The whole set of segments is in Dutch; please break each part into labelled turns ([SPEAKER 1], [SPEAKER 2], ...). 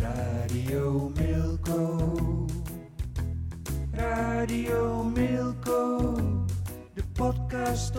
[SPEAKER 1] Radio Milko. Radio Milko. De podcast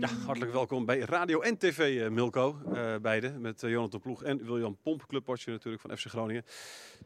[SPEAKER 2] Ja, hartelijk welkom bij Radio en TV eh, Milko, eh, beide. Met eh, Jonathan Ploeg en William Pomp, clubwatcher natuurlijk van FC Groningen.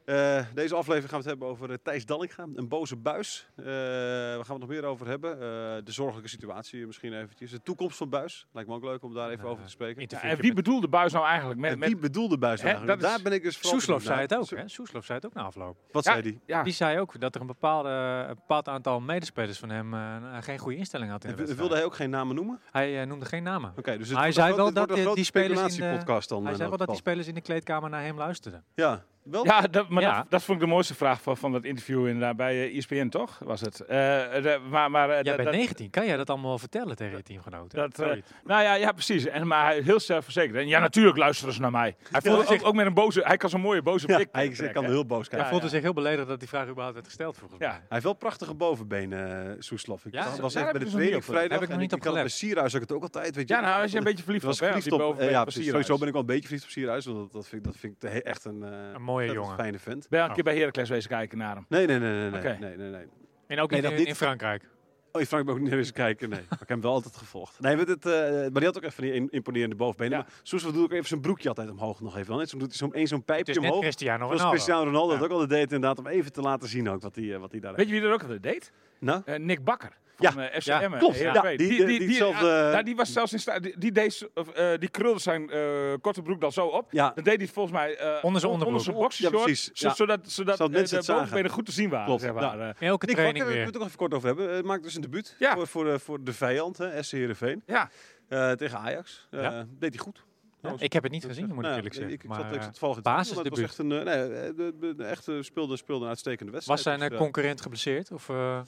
[SPEAKER 2] Eh, deze aflevering gaan we het hebben over eh, Thijs Dallinga, een boze buis. Eh waar gaan we het nog meer over hebben? Eh, de zorgelijke situatie misschien eventjes. De toekomst van buis, lijkt me ook leuk om daar even over te spreken.
[SPEAKER 3] Ja, en wie bedoelde Buis nou eigenlijk met,
[SPEAKER 2] En wie
[SPEAKER 3] met
[SPEAKER 2] bedoelde buis
[SPEAKER 3] Hè,
[SPEAKER 2] eigenlijk?
[SPEAKER 3] dat is-
[SPEAKER 2] Daar ben ik dus vooral
[SPEAKER 4] Soeslof zei
[SPEAKER 2] benieuwd
[SPEAKER 4] het
[SPEAKER 2] naar. Soe-
[SPEAKER 4] ook, hè? Soeslof zei het ook na afloop.
[SPEAKER 2] Wat
[SPEAKER 3] Ja,
[SPEAKER 2] zei die?
[SPEAKER 3] Ja,
[SPEAKER 4] Die zei ook dat er een, bepaalde, eh, een bepaald aantal medespelers van hem eh, geen goede instelling had in de
[SPEAKER 2] En w-
[SPEAKER 4] wedstrijd.
[SPEAKER 2] Wilde hij ook geen namen noemen? Oké,
[SPEAKER 4] Hij eh, noemde geen namen.
[SPEAKER 2] dus
[SPEAKER 4] Hij
[SPEAKER 2] wordt
[SPEAKER 4] zei
[SPEAKER 2] een
[SPEAKER 4] wel
[SPEAKER 2] grote-
[SPEAKER 4] dat
[SPEAKER 2] dit wordt een
[SPEAKER 4] die-
[SPEAKER 2] grote
[SPEAKER 4] die spelers in de-
[SPEAKER 2] speculatiepodcast dan.
[SPEAKER 4] hij
[SPEAKER 2] in
[SPEAKER 4] zei wel
[SPEAKER 2] elk
[SPEAKER 4] dat die
[SPEAKER 2] geval.
[SPEAKER 4] spelers in de kleedkamer naar hem luisterden.
[SPEAKER 2] Ja, wel
[SPEAKER 3] ja dat, maar
[SPEAKER 4] Ja.
[SPEAKER 3] Dat, dat vond ik de mooiste vraag van, van dat interview inderdaad bij eh, ESPN, toch? Was het? Eh, de- maar, maar, eh,
[SPEAKER 4] Jij
[SPEAKER 3] dat-
[SPEAKER 4] bent
[SPEAKER 3] dat-
[SPEAKER 4] 19, kan jij dat allemaal wel vertellen tegen je teamgenoten?
[SPEAKER 3] dat, eh,
[SPEAKER 4] Zoiets.
[SPEAKER 3] nou ja, ja, precies. En, maar hij heel zelfverzekerd. En ja, natuurlijk luisteren ze naar mij. Hij voelde zich ook met een boze... Hij kan zo'n mooie boze
[SPEAKER 2] Ja,
[SPEAKER 3] blik
[SPEAKER 2] hij
[SPEAKER 3] trekken.
[SPEAKER 2] kan heel boos kijken.
[SPEAKER 4] hij voelde
[SPEAKER 3] ja.
[SPEAKER 4] zich heel beledigd dat die vraag überhaupt werd gesteld, volgens
[SPEAKER 3] Ja.
[SPEAKER 4] mij.
[SPEAKER 2] Hij heeft wel prachtige bovenbenen, eh Soeslof. Ik
[SPEAKER 4] Ja,
[SPEAKER 2] was-
[SPEAKER 4] zo-
[SPEAKER 2] was
[SPEAKER 3] daar
[SPEAKER 2] echt bij
[SPEAKER 3] heb ik
[SPEAKER 2] de
[SPEAKER 3] dus nog niet
[SPEAKER 2] tweede eh, op
[SPEAKER 3] op gelet.
[SPEAKER 2] vrijdag.
[SPEAKER 4] Heb ik nog
[SPEAKER 2] en
[SPEAKER 4] niet op
[SPEAKER 2] kan- Bij
[SPEAKER 4] gelet.
[SPEAKER 2] Sierhuis had ik het ook altijd. Weet je,
[SPEAKER 3] Ja, nou, als je een beetje verliefd
[SPEAKER 2] was
[SPEAKER 3] op, hè,
[SPEAKER 2] verliefd
[SPEAKER 3] die
[SPEAKER 2] op. eh,
[SPEAKER 3] bovenbenen
[SPEAKER 2] ja,
[SPEAKER 3] van
[SPEAKER 2] precies.
[SPEAKER 3] Sierhuis.
[SPEAKER 2] Sowieso ben ik wel een beetje verliefd op Sierhuis. want Dat, dat vind ik, dat vind ik he- echt een, eh,
[SPEAKER 4] Een mooie
[SPEAKER 2] ontzettend
[SPEAKER 4] jongen.
[SPEAKER 2] fijne vent.
[SPEAKER 3] Ben je al een keer bij Heracles wezen kijken naar hem?
[SPEAKER 2] Nee, nee, nee, nee, nee,
[SPEAKER 3] Oké.
[SPEAKER 2] nee, nee, nee.
[SPEAKER 4] En ook
[SPEAKER 2] Nee,
[SPEAKER 4] niet
[SPEAKER 2] dat
[SPEAKER 4] in,
[SPEAKER 2] niet.
[SPEAKER 4] in Frankrijk.
[SPEAKER 2] Oh, je vraagt me ook niet eens kijken. Nee, maar ik heb hem wel altijd gevolgd. Nee, maar, dit, eh, maar die had ook echt van die in- imponerende bovenbenen.
[SPEAKER 3] Ja.
[SPEAKER 2] Maar Soeslof doet ook even zijn broekje altijd omhoog nog even. Dan doet hij zo'n één zo'n
[SPEAKER 4] Het
[SPEAKER 2] pijpje
[SPEAKER 4] is net
[SPEAKER 2] omhoog.
[SPEAKER 4] Cristiano
[SPEAKER 2] Zoals
[SPEAKER 4] Ronaldo.
[SPEAKER 2] Cristiano Ronaldo dat
[SPEAKER 4] Ja.
[SPEAKER 2] ook altijd deed inderdaad. Om even te laten zien ook wat hij eh, wat hij daar
[SPEAKER 3] Weet je wie dat ook altijd deed?
[SPEAKER 2] Nou?
[SPEAKER 3] Eh, Nick Bakker.
[SPEAKER 2] Ja,
[SPEAKER 3] Van, eh, FC
[SPEAKER 4] ja,
[SPEAKER 3] Emmen,
[SPEAKER 2] klopt.
[SPEAKER 3] Heerenveen.
[SPEAKER 2] Ja, die- die- eh, die hetzelfde-
[SPEAKER 3] ah, nou, die was zelfs in staat. Die, die, deed z- of, eh, die krulde zijn eh, korte broek dan zo op.
[SPEAKER 2] Ja.
[SPEAKER 3] Dan Ah, deed hij het volgens mij eh,
[SPEAKER 4] Onder zijn
[SPEAKER 3] on-
[SPEAKER 4] onderbroek.
[SPEAKER 3] boxershort,
[SPEAKER 2] Ja, precies.
[SPEAKER 3] zo-
[SPEAKER 2] Ja.
[SPEAKER 3] Zodat, zodat
[SPEAKER 2] Zodat
[SPEAKER 3] eh,
[SPEAKER 2] mensen
[SPEAKER 3] de
[SPEAKER 2] het zagen.
[SPEAKER 3] bovenbenen goed te zien waren.
[SPEAKER 2] Klopt, Nou.
[SPEAKER 3] Zeg maar.
[SPEAKER 2] ja.
[SPEAKER 3] Eh,
[SPEAKER 4] In elke
[SPEAKER 2] Nick
[SPEAKER 4] training
[SPEAKER 2] Bakker, daar moeten
[SPEAKER 4] weer.
[SPEAKER 2] we het nog even kort over hebben. Eh, maakt dus een debuut
[SPEAKER 3] Ja.
[SPEAKER 2] voor, voor, eh, voor de vijand, hè, SC Heerenveen.
[SPEAKER 3] ja.
[SPEAKER 2] Eh, tegen Ajax. Eh,
[SPEAKER 4] Ja.
[SPEAKER 2] Deed hij goed. trouwens.
[SPEAKER 4] Ik heb het niet gezien, moet ik
[SPEAKER 2] Nou,
[SPEAKER 4] eerlijk zeggen.
[SPEAKER 2] Ik, ik
[SPEAKER 4] maar,
[SPEAKER 2] zat, ik
[SPEAKER 4] eh,
[SPEAKER 2] zat toevallig in het
[SPEAKER 4] basisdebuut.
[SPEAKER 2] stadion, maar het was echt een, eh, nee, eh, de, de, de echte speelde, speelde een uitstekende wedstrijd.
[SPEAKER 4] was zijn eh,
[SPEAKER 2] Dus, eh,
[SPEAKER 4] concurrent geblesseerd? Of, eh,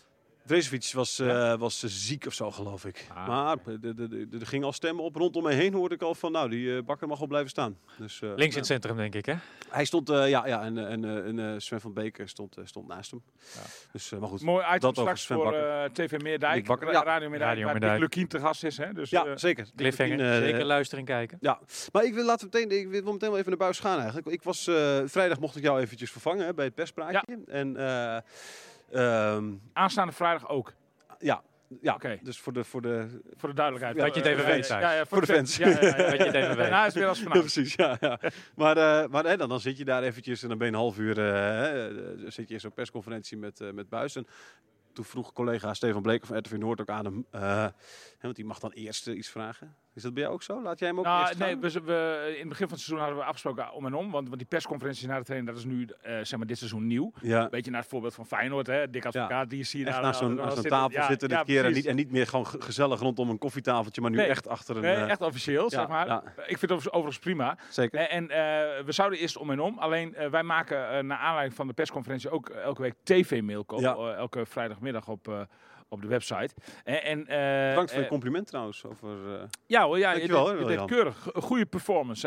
[SPEAKER 2] Drezovic was, eh, was eh, ziek of zo, geloof ik.
[SPEAKER 4] Ah,
[SPEAKER 2] maar eh, de- de- de- de- er ging al stemmen op. Rondom mij heen hoorde ik al van, nou, die eh, bakker mag wel blijven staan. Dus, eh,
[SPEAKER 4] links in
[SPEAKER 2] nou,
[SPEAKER 4] het centrum, denk ik, hè?
[SPEAKER 2] Hij stond, eh, ja, ja, en, eh, en, eh, en eh, Sven van Beek eh, stond, eh, stond naast hem. Dus, eh, maar goed.
[SPEAKER 3] Mooi item
[SPEAKER 2] Dat over
[SPEAKER 3] straks
[SPEAKER 2] Sven
[SPEAKER 3] voor
[SPEAKER 2] Bakker.
[SPEAKER 3] eh, TV
[SPEAKER 2] Nick
[SPEAKER 3] Meerdijk.
[SPEAKER 2] Bakker,
[SPEAKER 3] Ra-
[SPEAKER 2] ja.
[SPEAKER 3] Radio Meerdijk.
[SPEAKER 4] Radio
[SPEAKER 3] waar Dick
[SPEAKER 4] Meerdijk.
[SPEAKER 3] Lukien te gast is. Hè? Dus,
[SPEAKER 2] ja,
[SPEAKER 3] eh,
[SPEAKER 2] zeker.
[SPEAKER 4] Cliffhanger.
[SPEAKER 2] Misschien, eh,
[SPEAKER 4] Zeker luisteren en kijken.
[SPEAKER 2] Ja, maar ik wil, laten we meteen, ik wil meteen wel even naar buis gaan eigenlijk. Ik was, eh, vrijdag mocht ik jou eventjes vervangen hè, bij het perspraatje. En eh, ehm,
[SPEAKER 3] aanstaande vrijdag ook.
[SPEAKER 2] ja, ja.
[SPEAKER 3] Oké.
[SPEAKER 2] dus voor de, voor de
[SPEAKER 3] Voor de duidelijkheid.
[SPEAKER 2] Ja,
[SPEAKER 4] dat je het
[SPEAKER 3] Eh,
[SPEAKER 4] even
[SPEAKER 3] eh,
[SPEAKER 4] weet, Thijs.
[SPEAKER 3] Ja, ja,
[SPEAKER 2] Voor de fans.
[SPEAKER 3] Ja, ja, ja, ja.
[SPEAKER 4] Dat je het even weet.
[SPEAKER 3] Daarna is het weer als
[SPEAKER 2] Ja,
[SPEAKER 3] vanavond.
[SPEAKER 2] precies, ja. ja. Maar, eh, maar hè, dan, dan zit je daar eventjes en dan ben je een half uur... eh, hè, eh, zit je in zo'n persconferentie met, eh met Buis. En toen vroeg collega Stefan Bleker van RTV Noord ook aan hem... eh, hè, want die mag dan eerst eh, iets vragen. Is dat bij jou ook zo? Laat jij hem ook
[SPEAKER 3] Nou,
[SPEAKER 2] eerst
[SPEAKER 3] nee,
[SPEAKER 2] gaan?
[SPEAKER 3] we, we- in het begin van het seizoen hadden we afgesproken om en om. Want, want die persconferenties na de training, dat is nu eh, zeg maar dit seizoen nieuw.
[SPEAKER 2] Ja.
[SPEAKER 3] Beetje naar het voorbeeld van Feyenoord, hè? Dick Advocaat, die is hier
[SPEAKER 2] Echt
[SPEAKER 3] daar-
[SPEAKER 2] naast zo'n
[SPEAKER 3] daar
[SPEAKER 2] aan zo'n
[SPEAKER 3] zitten.
[SPEAKER 2] tafel
[SPEAKER 3] Ja,
[SPEAKER 2] zitten dit
[SPEAKER 3] ja,
[SPEAKER 2] keer en
[SPEAKER 3] precies.
[SPEAKER 2] niet, en niet meer gewoon ge- gezellig rondom een koffietafeltje, maar nu
[SPEAKER 3] Nee.
[SPEAKER 2] echt achter een...
[SPEAKER 3] Nee,
[SPEAKER 2] eh,
[SPEAKER 3] echt officieel,
[SPEAKER 2] ja,
[SPEAKER 3] zeg maar.
[SPEAKER 2] ja.
[SPEAKER 3] Ik vind het overigens- overigens prima.
[SPEAKER 2] Zeker.
[SPEAKER 3] En, en, eh, we zouden eerst om en om. Alleen eh, wij maken eh, naar aanleiding van de persconferentie ook eh, elke week tv-mail. eh,
[SPEAKER 2] Ja.
[SPEAKER 3] elke vrijdagmiddag op, eh, op de website. En, en, eh,
[SPEAKER 2] Bedankt voor
[SPEAKER 3] eh,
[SPEAKER 2] je compliment trouwens. Over, eh,
[SPEAKER 3] Ja hoor, ja, je
[SPEAKER 2] Dankjewel,
[SPEAKER 3] deed-
[SPEAKER 2] hè,
[SPEAKER 3] je deed
[SPEAKER 2] Wiljan.
[SPEAKER 3] keurig. Go- Goede performance,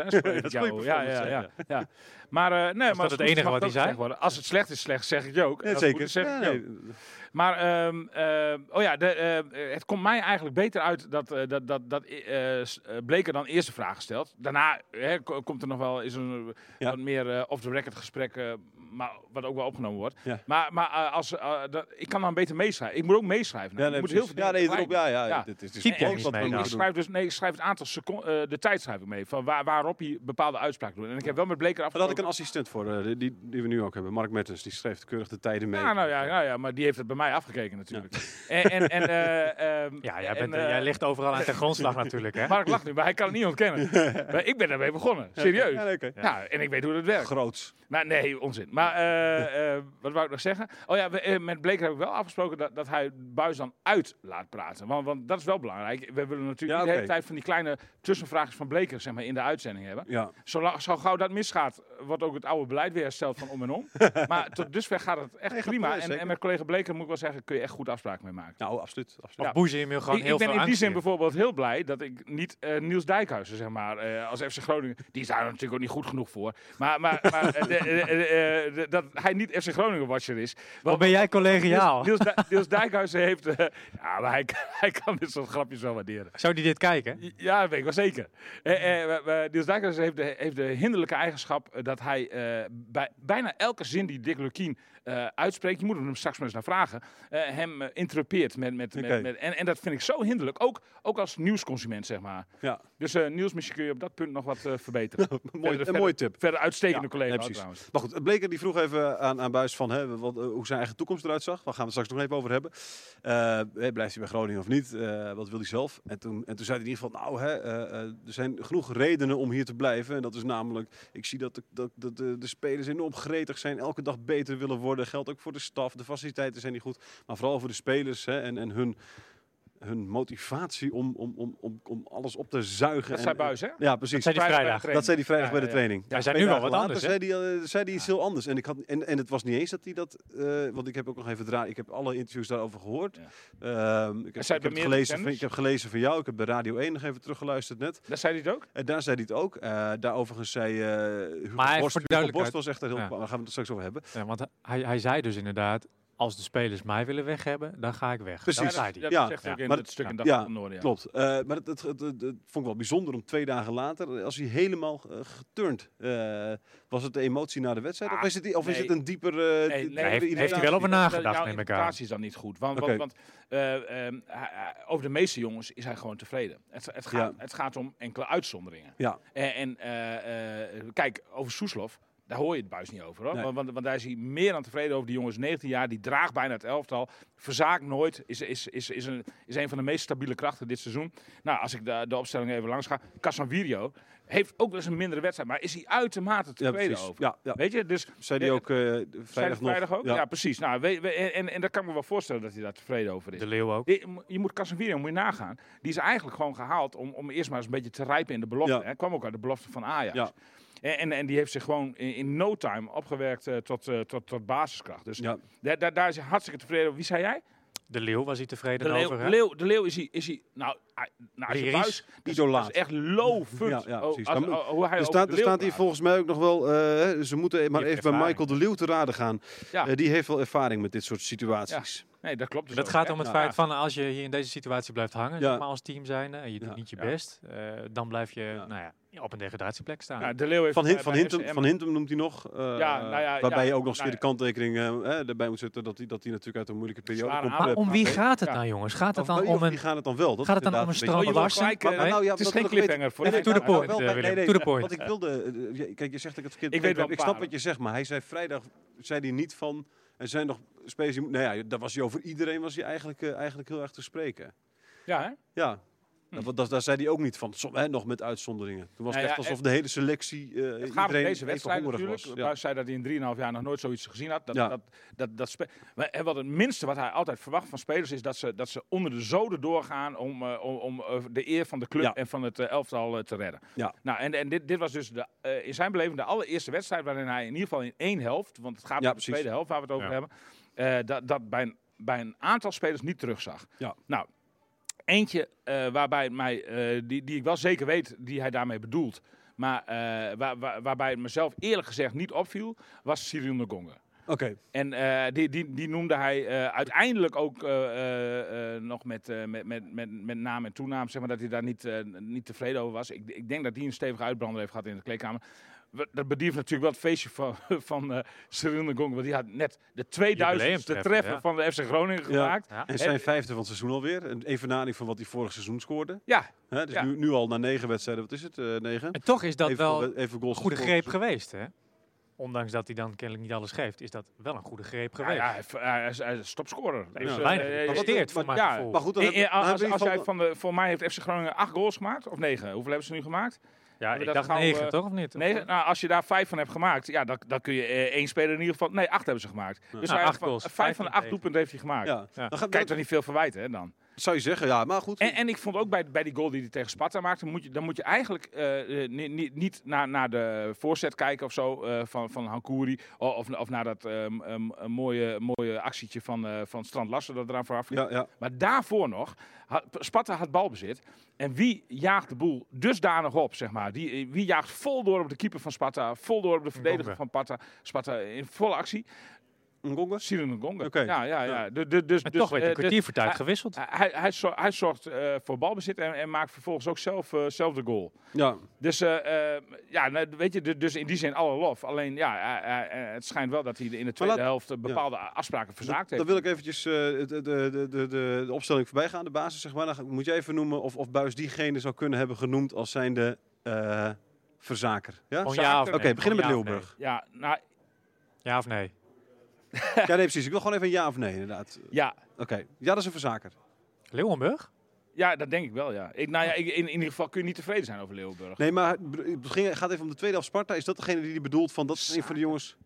[SPEAKER 3] hè? spreek ik
[SPEAKER 2] is goede
[SPEAKER 3] jou. Ja, ja,
[SPEAKER 2] performance,
[SPEAKER 3] ja, ja. Maar eh, nee, maar
[SPEAKER 4] dat het
[SPEAKER 3] goed,
[SPEAKER 4] enige wat
[SPEAKER 3] mag
[SPEAKER 4] hij
[SPEAKER 3] ook
[SPEAKER 4] zei?
[SPEAKER 3] gezegd worden. Als het slecht is, slecht zeg ik je ook. En
[SPEAKER 2] nee,
[SPEAKER 3] als
[SPEAKER 2] zeker.
[SPEAKER 3] het goed is, zeg ik
[SPEAKER 2] Ja,
[SPEAKER 3] je ook.
[SPEAKER 2] nee,
[SPEAKER 3] Maar ehm, ehm, oh ja, de, eh, het komt mij eigenlijk beter uit dat, eh, dat, dat, dat eh, eh, s- eh, Bleker dan eerst de vraag stelt. Daarna hè, ko- komt er nog wel eens een eh,
[SPEAKER 2] Ja.
[SPEAKER 3] wat meer eh, off-the-record gesprek. eh, maar wat ook wel opgenomen wordt.
[SPEAKER 2] Ja.
[SPEAKER 3] Maar, maar eh, als, eh, dat, ik kan dan beter meeschrijven. Ik moet ook meeschrijven.
[SPEAKER 2] Ja,
[SPEAKER 3] Ik
[SPEAKER 2] nee,
[SPEAKER 3] moet
[SPEAKER 2] precies. ja, nee, erop,
[SPEAKER 3] tegelijk.
[SPEAKER 2] ja, ja,
[SPEAKER 3] Ja.
[SPEAKER 2] Dit is, dit
[SPEAKER 4] Typ
[SPEAKER 2] is
[SPEAKER 4] jij
[SPEAKER 2] ook
[SPEAKER 4] niet
[SPEAKER 2] wat we
[SPEAKER 4] mee
[SPEAKER 2] moeten
[SPEAKER 3] Ik
[SPEAKER 4] dan?
[SPEAKER 2] doen.
[SPEAKER 3] schrijf dus, nee, ik schrijf het aantal seconden, de tijd schrijf ik mee, van waar, waarop hij bepaalde uitspraken doet. En ik heb wel met Bleker
[SPEAKER 2] Daar had ik
[SPEAKER 3] afgesproken.
[SPEAKER 2] een assistent voor, eh, die- die, die we nu ook hebben. Mark Mertens, die schreef keurig de tijden mee.
[SPEAKER 3] Ja, nou ja, nou ja, maar die heeft het bij mij afgekeken natuurlijk. En, en, en, eh, ehm,
[SPEAKER 4] Ja, jij,
[SPEAKER 3] en,
[SPEAKER 4] bent,
[SPEAKER 3] eh,
[SPEAKER 4] jij ligt overal aan ten grondslag natuurlijk, hè?
[SPEAKER 3] Mark lacht nu, maar hij kan het niet ontkennen. Maar ik ben daarmee begonnen, serieus.
[SPEAKER 2] Ja, nee, oké.
[SPEAKER 3] Ja, en ik weet hoe dat werkt.
[SPEAKER 2] Groots.
[SPEAKER 3] Maar nee, onzin. Maar eh, eh, wat wou ik nog zeggen? Oh ja, we, eh, met Bleker heb ik wel afgesproken dat, dat hij Buis dan uit laat praten. Want, want dat is wel belangrijk. We willen natuurlijk
[SPEAKER 2] Ja,
[SPEAKER 3] niet de hele
[SPEAKER 2] oké.
[SPEAKER 3] tijd van die kleine tussenvraagjes van Bleker zeg maar, in de uitzending hebben.
[SPEAKER 2] Ja.
[SPEAKER 3] Zolang, zo gauw dat misgaat, wordt ook het oude beleid weer hersteld van om en om. maar tot dusver gaat het echt
[SPEAKER 2] Nee, gaat
[SPEAKER 3] prima.
[SPEAKER 2] mooi,
[SPEAKER 3] En,
[SPEAKER 2] zeker.
[SPEAKER 3] en met collega Bleker moet ik wel zeggen, kun je echt goed afspraken mee maken.
[SPEAKER 2] Nou, absoluut. absoluut.
[SPEAKER 4] Of
[SPEAKER 3] Ja. oh,
[SPEAKER 4] boezeem je hem gewoon
[SPEAKER 3] ik,
[SPEAKER 4] heel
[SPEAKER 3] ik ben
[SPEAKER 4] veel
[SPEAKER 3] in die
[SPEAKER 4] angst
[SPEAKER 3] zin
[SPEAKER 4] in.
[SPEAKER 3] bijvoorbeeld heel blij dat ik niet eh, Niels Dijkhuizen, zeg maar, eh, als FC Groningen. Die is daar natuurlijk ook niet goed genoeg voor. Maar, maar, maar eh, de- de- de- de- dat hij niet FC Groningen-watcher is.
[SPEAKER 4] Wat ben jij collegiaal?
[SPEAKER 3] Niels, Dij- Niels Dijkhuizen heeft. eh, ja, maar hij, kan- hij kan dit soort grapjes wel waarderen.
[SPEAKER 4] Zou die dit kijken?
[SPEAKER 3] Ja, dat weet ik wel zeker. Eh, eh, eh, eh, Niels Dijkhuizen heeft de, heeft de hinderlijke eigenschap eh, dat hij eh, bij bijna elke zin die Dick Lukien eh, uitspreekt, je moet hem straks maar eens naar vragen, eh, hem eh, interrupeert. Met, met,
[SPEAKER 2] Oké.
[SPEAKER 3] met, met- en, en dat vind ik zo hinderlijk, ook, ook als nieuwsconsument, zeg maar.
[SPEAKER 2] Ja.
[SPEAKER 3] Dus eh nieuws, misschien kun je op dat punt nog wat eh, verbeteren.
[SPEAKER 2] Mooi, een mooie tip.
[SPEAKER 3] Verder uitstekende
[SPEAKER 2] Ja,
[SPEAKER 3] collega
[SPEAKER 2] nee,
[SPEAKER 3] ook,
[SPEAKER 2] precies.
[SPEAKER 3] trouwens.
[SPEAKER 2] Maar goed, Bleker die vroeg even aan, aan Buis van hè, wat, eh, hoe zijn eigen toekomst eruit zag. Daar gaan we het straks nog even over hebben. Eh, hè, blijft hij bij Groningen of niet? Eh, wat wil hij zelf? En toen, en toen zei hij in ieder geval, nou, hè, eh, eh, er zijn genoeg redenen om hier te blijven. En dat is namelijk, ik zie dat de, dat, dat de, de spelers enorm gretig zijn, elke dag beter willen worden. Geldt ook voor de staf, de faciliteiten zijn niet goed. Maar vooral voor de spelers hè, en, en hun, hun motivatie om, om, om, om, om alles op te zuigen.
[SPEAKER 3] Dat
[SPEAKER 2] en-
[SPEAKER 3] zei Buis, hè?
[SPEAKER 2] Ja, precies.
[SPEAKER 4] zei die
[SPEAKER 3] Buijs bij
[SPEAKER 2] Dat
[SPEAKER 4] vrijdag.
[SPEAKER 3] de training.
[SPEAKER 2] zei hij vrijdag
[SPEAKER 3] Ja,
[SPEAKER 2] bij de
[SPEAKER 3] ja, ja.
[SPEAKER 2] training.
[SPEAKER 4] Hij zei
[SPEAKER 2] Twee
[SPEAKER 4] nu wel
[SPEAKER 2] dagen
[SPEAKER 4] wat
[SPEAKER 2] later
[SPEAKER 4] anders, hè?
[SPEAKER 2] Zei hij, eh, zei hij iets heel anders. En, ik had, en, en het was niet eens dat hij dat... eh, want ik heb ook nog even draai, Ik heb alle interviews daarover gehoord.
[SPEAKER 3] Ja.
[SPEAKER 2] Ehm, ik, heb,
[SPEAKER 3] bij
[SPEAKER 2] ik, heb het
[SPEAKER 3] meerdere
[SPEAKER 2] gelezen, van-
[SPEAKER 3] zenders?
[SPEAKER 2] ik heb gelezen van jou. Ik heb bij Radio 1 nog even teruggeluisterd net.
[SPEAKER 3] Dat zei hij het ook?
[SPEAKER 2] En daar zei hij het ook. Eh daar overigens zei eh Hugo,
[SPEAKER 4] Maar voor
[SPEAKER 2] Borst, Hugo Borst
[SPEAKER 4] duidelijkheid-
[SPEAKER 2] was echt een heel...
[SPEAKER 4] Ja.
[SPEAKER 2] Daar gaan we het straks over hebben.
[SPEAKER 4] Ja, want hij, hij zei dus inderdaad, als de spelers mij willen weg hebben, dan ga ik weg.
[SPEAKER 2] Precies.
[SPEAKER 4] Dat zei hij.
[SPEAKER 3] dat
[SPEAKER 2] Ja,
[SPEAKER 3] zegt hij ook
[SPEAKER 4] ja.
[SPEAKER 3] in
[SPEAKER 2] Maar
[SPEAKER 3] het stuk in
[SPEAKER 2] ja,
[SPEAKER 3] Dag van het Noorden. ja.
[SPEAKER 2] Klopt. Eh, maar dat, dat, dat- dat- dat vond ik wel bijzonder om twee dagen later, als hij helemaal eh, geturnd eh, was, het de emotie na de wedstrijd?
[SPEAKER 3] Ah,
[SPEAKER 2] of is het, of is
[SPEAKER 3] nee.
[SPEAKER 2] het een dieper. eh,
[SPEAKER 3] Nee,
[SPEAKER 2] dieper
[SPEAKER 3] nee,
[SPEAKER 4] heeft-
[SPEAKER 2] irritatie?
[SPEAKER 4] heeft hij wel over nagedacht, neem
[SPEAKER 3] Jouw
[SPEAKER 4] ik aan.
[SPEAKER 3] interpretatie is dan niet goed. Want,
[SPEAKER 2] Oké.
[SPEAKER 3] want, want eh, ehm, hij- hij- over de meeste jongens is hij gewoon tevreden. Het, het, gaat, het gaat om enkele uitzonderingen.
[SPEAKER 2] Ja.
[SPEAKER 3] En, en, eh, eh, kijk, over Soeslof, daar hoor je het buis niet over. Hoor.
[SPEAKER 2] Nee.
[SPEAKER 3] Want, want, want daar is hij meer dan tevreden over. Die jongens 19 jaar, die draagt bijna het elftal. Verzaakt nooit, is, is, is, is, een, is een van de meest stabiele krachten dit seizoen. Nou, als ik de, de opstelling even langs ga. Casanvirio heeft ook wel eens een mindere wedstrijd. Maar is hij uitermate
[SPEAKER 2] Ja,
[SPEAKER 3] tevreden
[SPEAKER 2] precies.
[SPEAKER 3] over.
[SPEAKER 2] Ja, ja.
[SPEAKER 3] Weet je, dus...
[SPEAKER 2] Zei die
[SPEAKER 3] eh,
[SPEAKER 2] ook eh,
[SPEAKER 3] zijn
[SPEAKER 2] vrijdag
[SPEAKER 3] het
[SPEAKER 2] nog?
[SPEAKER 3] vrijdag ook? Ja,
[SPEAKER 2] Ja.
[SPEAKER 3] precies. Nou, we, we- en, en dat kan ik me wel voorstellen dat hij daar tevreden over is.
[SPEAKER 4] De Leeuw ook.
[SPEAKER 3] Die- je moet Casemiro moet je nagaan. Die is eigenlijk gewoon gehaald om, om eerst maar eens een beetje te rijpen in de belofte.
[SPEAKER 2] Ja.
[SPEAKER 3] Hij kwam ook uit de belofte van Ajax.
[SPEAKER 2] Ja.
[SPEAKER 3] En, en, en die heeft zich gewoon in, in no time opgewerkt eh, tot, eh, tot, tot basiskracht. Dus
[SPEAKER 2] Ja.
[SPEAKER 3] daar, daar, daar is hij hartstikke tevreden over. Wie zei jij?
[SPEAKER 4] De Leeuw was hij tevreden
[SPEAKER 3] De Leeuw,
[SPEAKER 4] over,
[SPEAKER 3] de
[SPEAKER 4] hè?
[SPEAKER 3] Leeuw, de Leeuw is hij... Is hij nou, hij- nou, als je
[SPEAKER 4] Lyrisch,
[SPEAKER 3] buis, dat is-
[SPEAKER 2] idolaat.
[SPEAKER 3] dat is echt low fun.
[SPEAKER 2] Ja, ja, precies. Dan-
[SPEAKER 3] oh, hoe hij
[SPEAKER 2] Er
[SPEAKER 3] over
[SPEAKER 2] staat,
[SPEAKER 3] de
[SPEAKER 2] er
[SPEAKER 3] Leeuw
[SPEAKER 2] staat hier
[SPEAKER 3] praat.
[SPEAKER 2] volgens mij ook nog wel. eh, hè, ze moeten maar
[SPEAKER 3] Die heeft
[SPEAKER 2] even bij
[SPEAKER 3] ervaring.
[SPEAKER 2] Michael de Leeuw te raden gaan.
[SPEAKER 3] Ja.
[SPEAKER 2] Eh, die heeft wel ervaring met dit soort situaties.
[SPEAKER 3] Nee, dat klopt. dus
[SPEAKER 4] Dat
[SPEAKER 3] ook,
[SPEAKER 4] gaat
[SPEAKER 3] hè?
[SPEAKER 4] om het
[SPEAKER 3] Nou,
[SPEAKER 4] feit van als je hier in deze situatie blijft hangen,
[SPEAKER 2] Ja.
[SPEAKER 4] zeg maar als team zijnde, en je doet
[SPEAKER 2] Ja.
[SPEAKER 4] niet je
[SPEAKER 3] Ja.
[SPEAKER 4] best, eh, dan blijf je
[SPEAKER 2] Ja.
[SPEAKER 4] nou ja, op een degradatieplek staan.
[SPEAKER 3] ja, Nou, de Leeuw heeft
[SPEAKER 2] Van, Hin-
[SPEAKER 3] bij-
[SPEAKER 2] van,
[SPEAKER 3] bij
[SPEAKER 2] Hintem,
[SPEAKER 3] FCM
[SPEAKER 2] van Hintem noemt hij nog. eh,
[SPEAKER 3] Ja, nou ja,
[SPEAKER 2] waarbij
[SPEAKER 3] ja,
[SPEAKER 2] je ook nog eens
[SPEAKER 3] nou
[SPEAKER 2] weer de kanttekening eh, eh, erbij moet zetten. Dat hij dat die natuurlijk uit een moeilijke periode
[SPEAKER 3] Zware
[SPEAKER 2] komt.
[SPEAKER 3] aanval.
[SPEAKER 4] maar
[SPEAKER 2] Eh,
[SPEAKER 4] om wie
[SPEAKER 3] maar-
[SPEAKER 4] gaat het
[SPEAKER 3] Ja.
[SPEAKER 4] nou jongens? Gaat het
[SPEAKER 2] Of
[SPEAKER 4] dan
[SPEAKER 2] wie- of
[SPEAKER 4] om
[SPEAKER 2] wie
[SPEAKER 4] een...
[SPEAKER 2] gaat het dan wel? Dat
[SPEAKER 4] Gaat
[SPEAKER 2] is
[SPEAKER 4] het dan om een
[SPEAKER 2] inderdaad
[SPEAKER 4] strand?
[SPEAKER 3] Oh, je
[SPEAKER 4] Van
[SPEAKER 3] wil
[SPEAKER 4] Larsen?
[SPEAKER 3] gelijk, eh,
[SPEAKER 2] Maar- maar nou ja,
[SPEAKER 3] het is
[SPEAKER 2] dat
[SPEAKER 3] geen
[SPEAKER 2] wil ik weten.
[SPEAKER 3] cliffhanger. Voor
[SPEAKER 4] Even
[SPEAKER 3] de
[SPEAKER 4] to the
[SPEAKER 3] eindbaas.
[SPEAKER 4] point,
[SPEAKER 2] Nou, wel
[SPEAKER 4] eh,
[SPEAKER 2] bij-
[SPEAKER 4] Willem.
[SPEAKER 2] nee,
[SPEAKER 4] To
[SPEAKER 2] nee,
[SPEAKER 4] the point.
[SPEAKER 2] Want ik wilde... eh, ja, Kijk, je zegt dat ik het kind
[SPEAKER 3] Ik weet wel
[SPEAKER 2] Ik
[SPEAKER 3] een
[SPEAKER 2] snap
[SPEAKER 3] paar.
[SPEAKER 2] wat je zegt, maar hij zei vrijdag... zei hij niet van... Er zijn nog spelers... die- Nou ja, daar was hij over iedereen was hij eigenlijk, eh, eigenlijk heel erg te spreken.
[SPEAKER 3] Ja, hè?
[SPEAKER 2] Ja. Dat- want dat- daar zei hij ook niet van. Som, hè, nog met uitzonderingen. Toen was het
[SPEAKER 3] Hm. Nou
[SPEAKER 2] echt
[SPEAKER 3] ja,
[SPEAKER 2] alsof de hele selectie... eh
[SPEAKER 3] Het gaat om
[SPEAKER 2] iedereen
[SPEAKER 3] deze
[SPEAKER 2] even
[SPEAKER 3] wedstrijd
[SPEAKER 2] hongerig
[SPEAKER 3] natuurlijk.
[SPEAKER 2] was. Ja.
[SPEAKER 3] Buis zei dat hij in 3,5 jaar nog nooit zoiets gezien had. Dat,
[SPEAKER 2] Ja.
[SPEAKER 3] dat, dat, dat spe- maar, eh, wat het minste wat hij altijd verwacht van spelers is dat ze, dat ze onder de zoden doorgaan om, eh, om, om eh, de eer van de club
[SPEAKER 2] Ja.
[SPEAKER 3] en van het eh, elftal eh, te redden.
[SPEAKER 2] Ja.
[SPEAKER 3] Nou, en en dit, dit was dus de, eh, in zijn beleving de allereerste wedstrijd waarin hij in ieder geval in één helft, want het gaat
[SPEAKER 2] Ja,
[SPEAKER 3] om de
[SPEAKER 2] precies.
[SPEAKER 3] tweede helft waar we het over
[SPEAKER 4] Ja.
[SPEAKER 3] hebben, eh, dat, dat bij, een, bij een aantal spelers niet terugzag.
[SPEAKER 2] Ja.
[SPEAKER 3] Nou, Eentje eh, waarbij het mij, eh, die, die ik wel zeker weet die hij daarmee bedoelt, maar eh, waar, waar- waarbij het mezelf eerlijk gezegd niet opviel, was Cyril Ngonga.
[SPEAKER 2] Oké.
[SPEAKER 3] En eh, die, die, die noemde hij eh, uiteindelijk ook eh, eh, eh, nog met, eh, met, met, met, met naam en toenaam, zeg maar, dat hij daar niet, eh, niet tevreden over was. Ik, ik denk dat hij een stevige uitbrander heeft gehad in de kleedkamer. we- dat bedierf natuurlijk wel het feestje van, van eh Cyril de Gong. Want die had net de 2000ste
[SPEAKER 4] Jubileumtreffer,
[SPEAKER 3] treffer
[SPEAKER 4] ja.
[SPEAKER 3] van de FC Groningen
[SPEAKER 2] Ja.
[SPEAKER 3] gemaakt.
[SPEAKER 4] Ja.
[SPEAKER 2] En zijn vijfde van het seizoen alweer. Een evenaring van wat hij vorig seizoen scoorde.
[SPEAKER 3] Ja,
[SPEAKER 2] Hè, dus
[SPEAKER 3] Ja.
[SPEAKER 2] nu, nu al na negen wedstrijden, wat is het? eh negen?
[SPEAKER 4] En toch is dat
[SPEAKER 2] even,
[SPEAKER 4] wel
[SPEAKER 2] even goals
[SPEAKER 4] een goede
[SPEAKER 2] gescoord.
[SPEAKER 4] greep geweest, hè? Ondanks dat hij dan kennelijk niet alles geeft, is dat wel een goede greep
[SPEAKER 3] ja,
[SPEAKER 4] geweest.
[SPEAKER 3] ja, hij, hij is, hij is stopscorer. Dus, eh,
[SPEAKER 4] weinig
[SPEAKER 3] eh,
[SPEAKER 4] gepresteerd,
[SPEAKER 3] eh,
[SPEAKER 4] voor mijn
[SPEAKER 3] ja,
[SPEAKER 4] gevoel.
[SPEAKER 2] Maar goed, dan
[SPEAKER 3] eh, eh,
[SPEAKER 2] hebben- dan
[SPEAKER 3] als,
[SPEAKER 2] hebben we in
[SPEAKER 3] als
[SPEAKER 2] ieder
[SPEAKER 3] jij
[SPEAKER 2] geval-
[SPEAKER 3] van de, voor mij heeft FC Groningen acht goals gemaakt, of negen. Hoeveel hebben ze nu gemaakt?
[SPEAKER 4] Ja,
[SPEAKER 3] we
[SPEAKER 4] ik
[SPEAKER 3] dat
[SPEAKER 4] dacht
[SPEAKER 3] gauw,
[SPEAKER 4] negen,
[SPEAKER 3] eh,
[SPEAKER 4] toch? Of niet? Of-
[SPEAKER 3] Negen, nou, als je daar vijf van hebt gemaakt, ja, dan, dan kun je eh, één speler in ieder geval... Nee, acht hebben ze gemaakt. Dus
[SPEAKER 4] Nou,
[SPEAKER 3] hij-
[SPEAKER 4] acht
[SPEAKER 3] van-
[SPEAKER 4] goals.
[SPEAKER 3] Vijf
[SPEAKER 4] Vijf
[SPEAKER 3] van
[SPEAKER 4] tegen
[SPEAKER 3] de acht
[SPEAKER 4] negen.
[SPEAKER 3] doelpunten heeft hij gemaakt.
[SPEAKER 2] Ja.
[SPEAKER 4] Ja.
[SPEAKER 2] Dan gaat,
[SPEAKER 3] Kijk,
[SPEAKER 2] dan,
[SPEAKER 3] toch niet veel verwijten, hè, dan.
[SPEAKER 2] zou je zeggen, ja, maar goed.
[SPEAKER 3] En, en ik vond ook bij, bij die goal die hij tegen Sparta maakte, moet je, dan moet je eigenlijk eh, eh, ni- ni- niet naar, naar de voorzet kijken of zo eh, van, van Hankouri. O- Of, of naar dat ehm, ehm, een mooie, mooie actietje van, eh, van Strand Lassen dat eraan vooraf ging.
[SPEAKER 2] ja, ja.
[SPEAKER 3] Maar daarvoor nog, had- Sparta had balbezit. En wie jaagt de boel dusdanig op, zeg maar? Die, eh, wie jaagt vol door op de keeper van Sparta, vol door op de verdediger
[SPEAKER 4] Ngonga.
[SPEAKER 3] van Sparta, Sparta in volle actie?
[SPEAKER 2] Ngonga?
[SPEAKER 3] Cyril Ngonga.
[SPEAKER 2] Oké.
[SPEAKER 3] Ja, ja, ja.
[SPEAKER 2] Ja.
[SPEAKER 3] Du- du- Dus,
[SPEAKER 4] En
[SPEAKER 3] dus,
[SPEAKER 4] toch werd
[SPEAKER 3] eh,
[SPEAKER 4] een
[SPEAKER 3] dus-
[SPEAKER 4] kwartier voor tijd
[SPEAKER 3] hij-
[SPEAKER 4] gewisseld.
[SPEAKER 3] hij, hij, zor- hij zorgt eh, voor balbezit en, en maakt vervolgens ook zelf, eh, zelf de goal.
[SPEAKER 2] Ja.
[SPEAKER 3] Dus, eh, eh, ja, nou, weet je, du- dus in die zin alle lof. Alleen ja, eh, eh, eh, het schijnt wel dat hij in de tweede
[SPEAKER 2] laat-
[SPEAKER 3] helft eh, bepaalde afspraken verzaakt
[SPEAKER 2] Dan
[SPEAKER 3] heeft.
[SPEAKER 2] wil ik eventjes eh, de, de, de, de, de, de opstelling voorbij gaan, de basis zeg maar. Dan ga- moet jij even noemen of, of Buis diegene zou kunnen hebben genoemd als zijnde eh verzaker. Ja?
[SPEAKER 4] Gewoon
[SPEAKER 2] Oké,
[SPEAKER 4] ja of
[SPEAKER 3] Oké,
[SPEAKER 4] nee.
[SPEAKER 2] beginnen met
[SPEAKER 4] Gewoon ja of
[SPEAKER 2] Leeuwburg.
[SPEAKER 3] Ja, nou,
[SPEAKER 4] nee. Ja of nee?
[SPEAKER 2] Ja, nee, precies. Ik wil gewoon even een ja of nee, inderdaad.
[SPEAKER 3] ja,
[SPEAKER 2] Oké, ja, dat is een verzaker.
[SPEAKER 4] Leeuwenburg?
[SPEAKER 3] ja, dat denk ik wel, ja. Ik, nou ja, ik- in, in ieder geval kun je niet tevreden zijn over Leeuwenburg.
[SPEAKER 2] Nee, maar het be- het ging- gaat even om de tweede helft Sparta. Is dat degene die die bedoelt van dat is een van de jongens?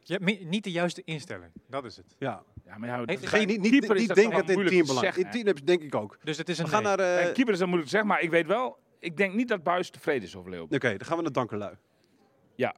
[SPEAKER 4] Je hebt mi- niet de juiste instelling, dat is het.
[SPEAKER 2] Ja.
[SPEAKER 3] Ja, maar ja,
[SPEAKER 4] Heeft-
[SPEAKER 3] dat-
[SPEAKER 2] Geen, niet niet,
[SPEAKER 3] keeper is
[SPEAKER 2] niet
[SPEAKER 3] dat
[SPEAKER 2] denken
[SPEAKER 3] toch
[SPEAKER 2] dat in
[SPEAKER 3] moeilijk te
[SPEAKER 2] teambelang.
[SPEAKER 3] zeggen,
[SPEAKER 2] In team denk ik ook.
[SPEAKER 4] Dus het is
[SPEAKER 2] We
[SPEAKER 4] een
[SPEAKER 2] gaan
[SPEAKER 4] nee.
[SPEAKER 2] naar... eh,
[SPEAKER 3] Bij keeper is dat moeilijk te zeggen, maar ik weet wel, ik denk niet dat Buis tevreden is over Leeuwenburg.
[SPEAKER 2] Oké, dan gaan we naar Dankerlui.
[SPEAKER 3] Ja.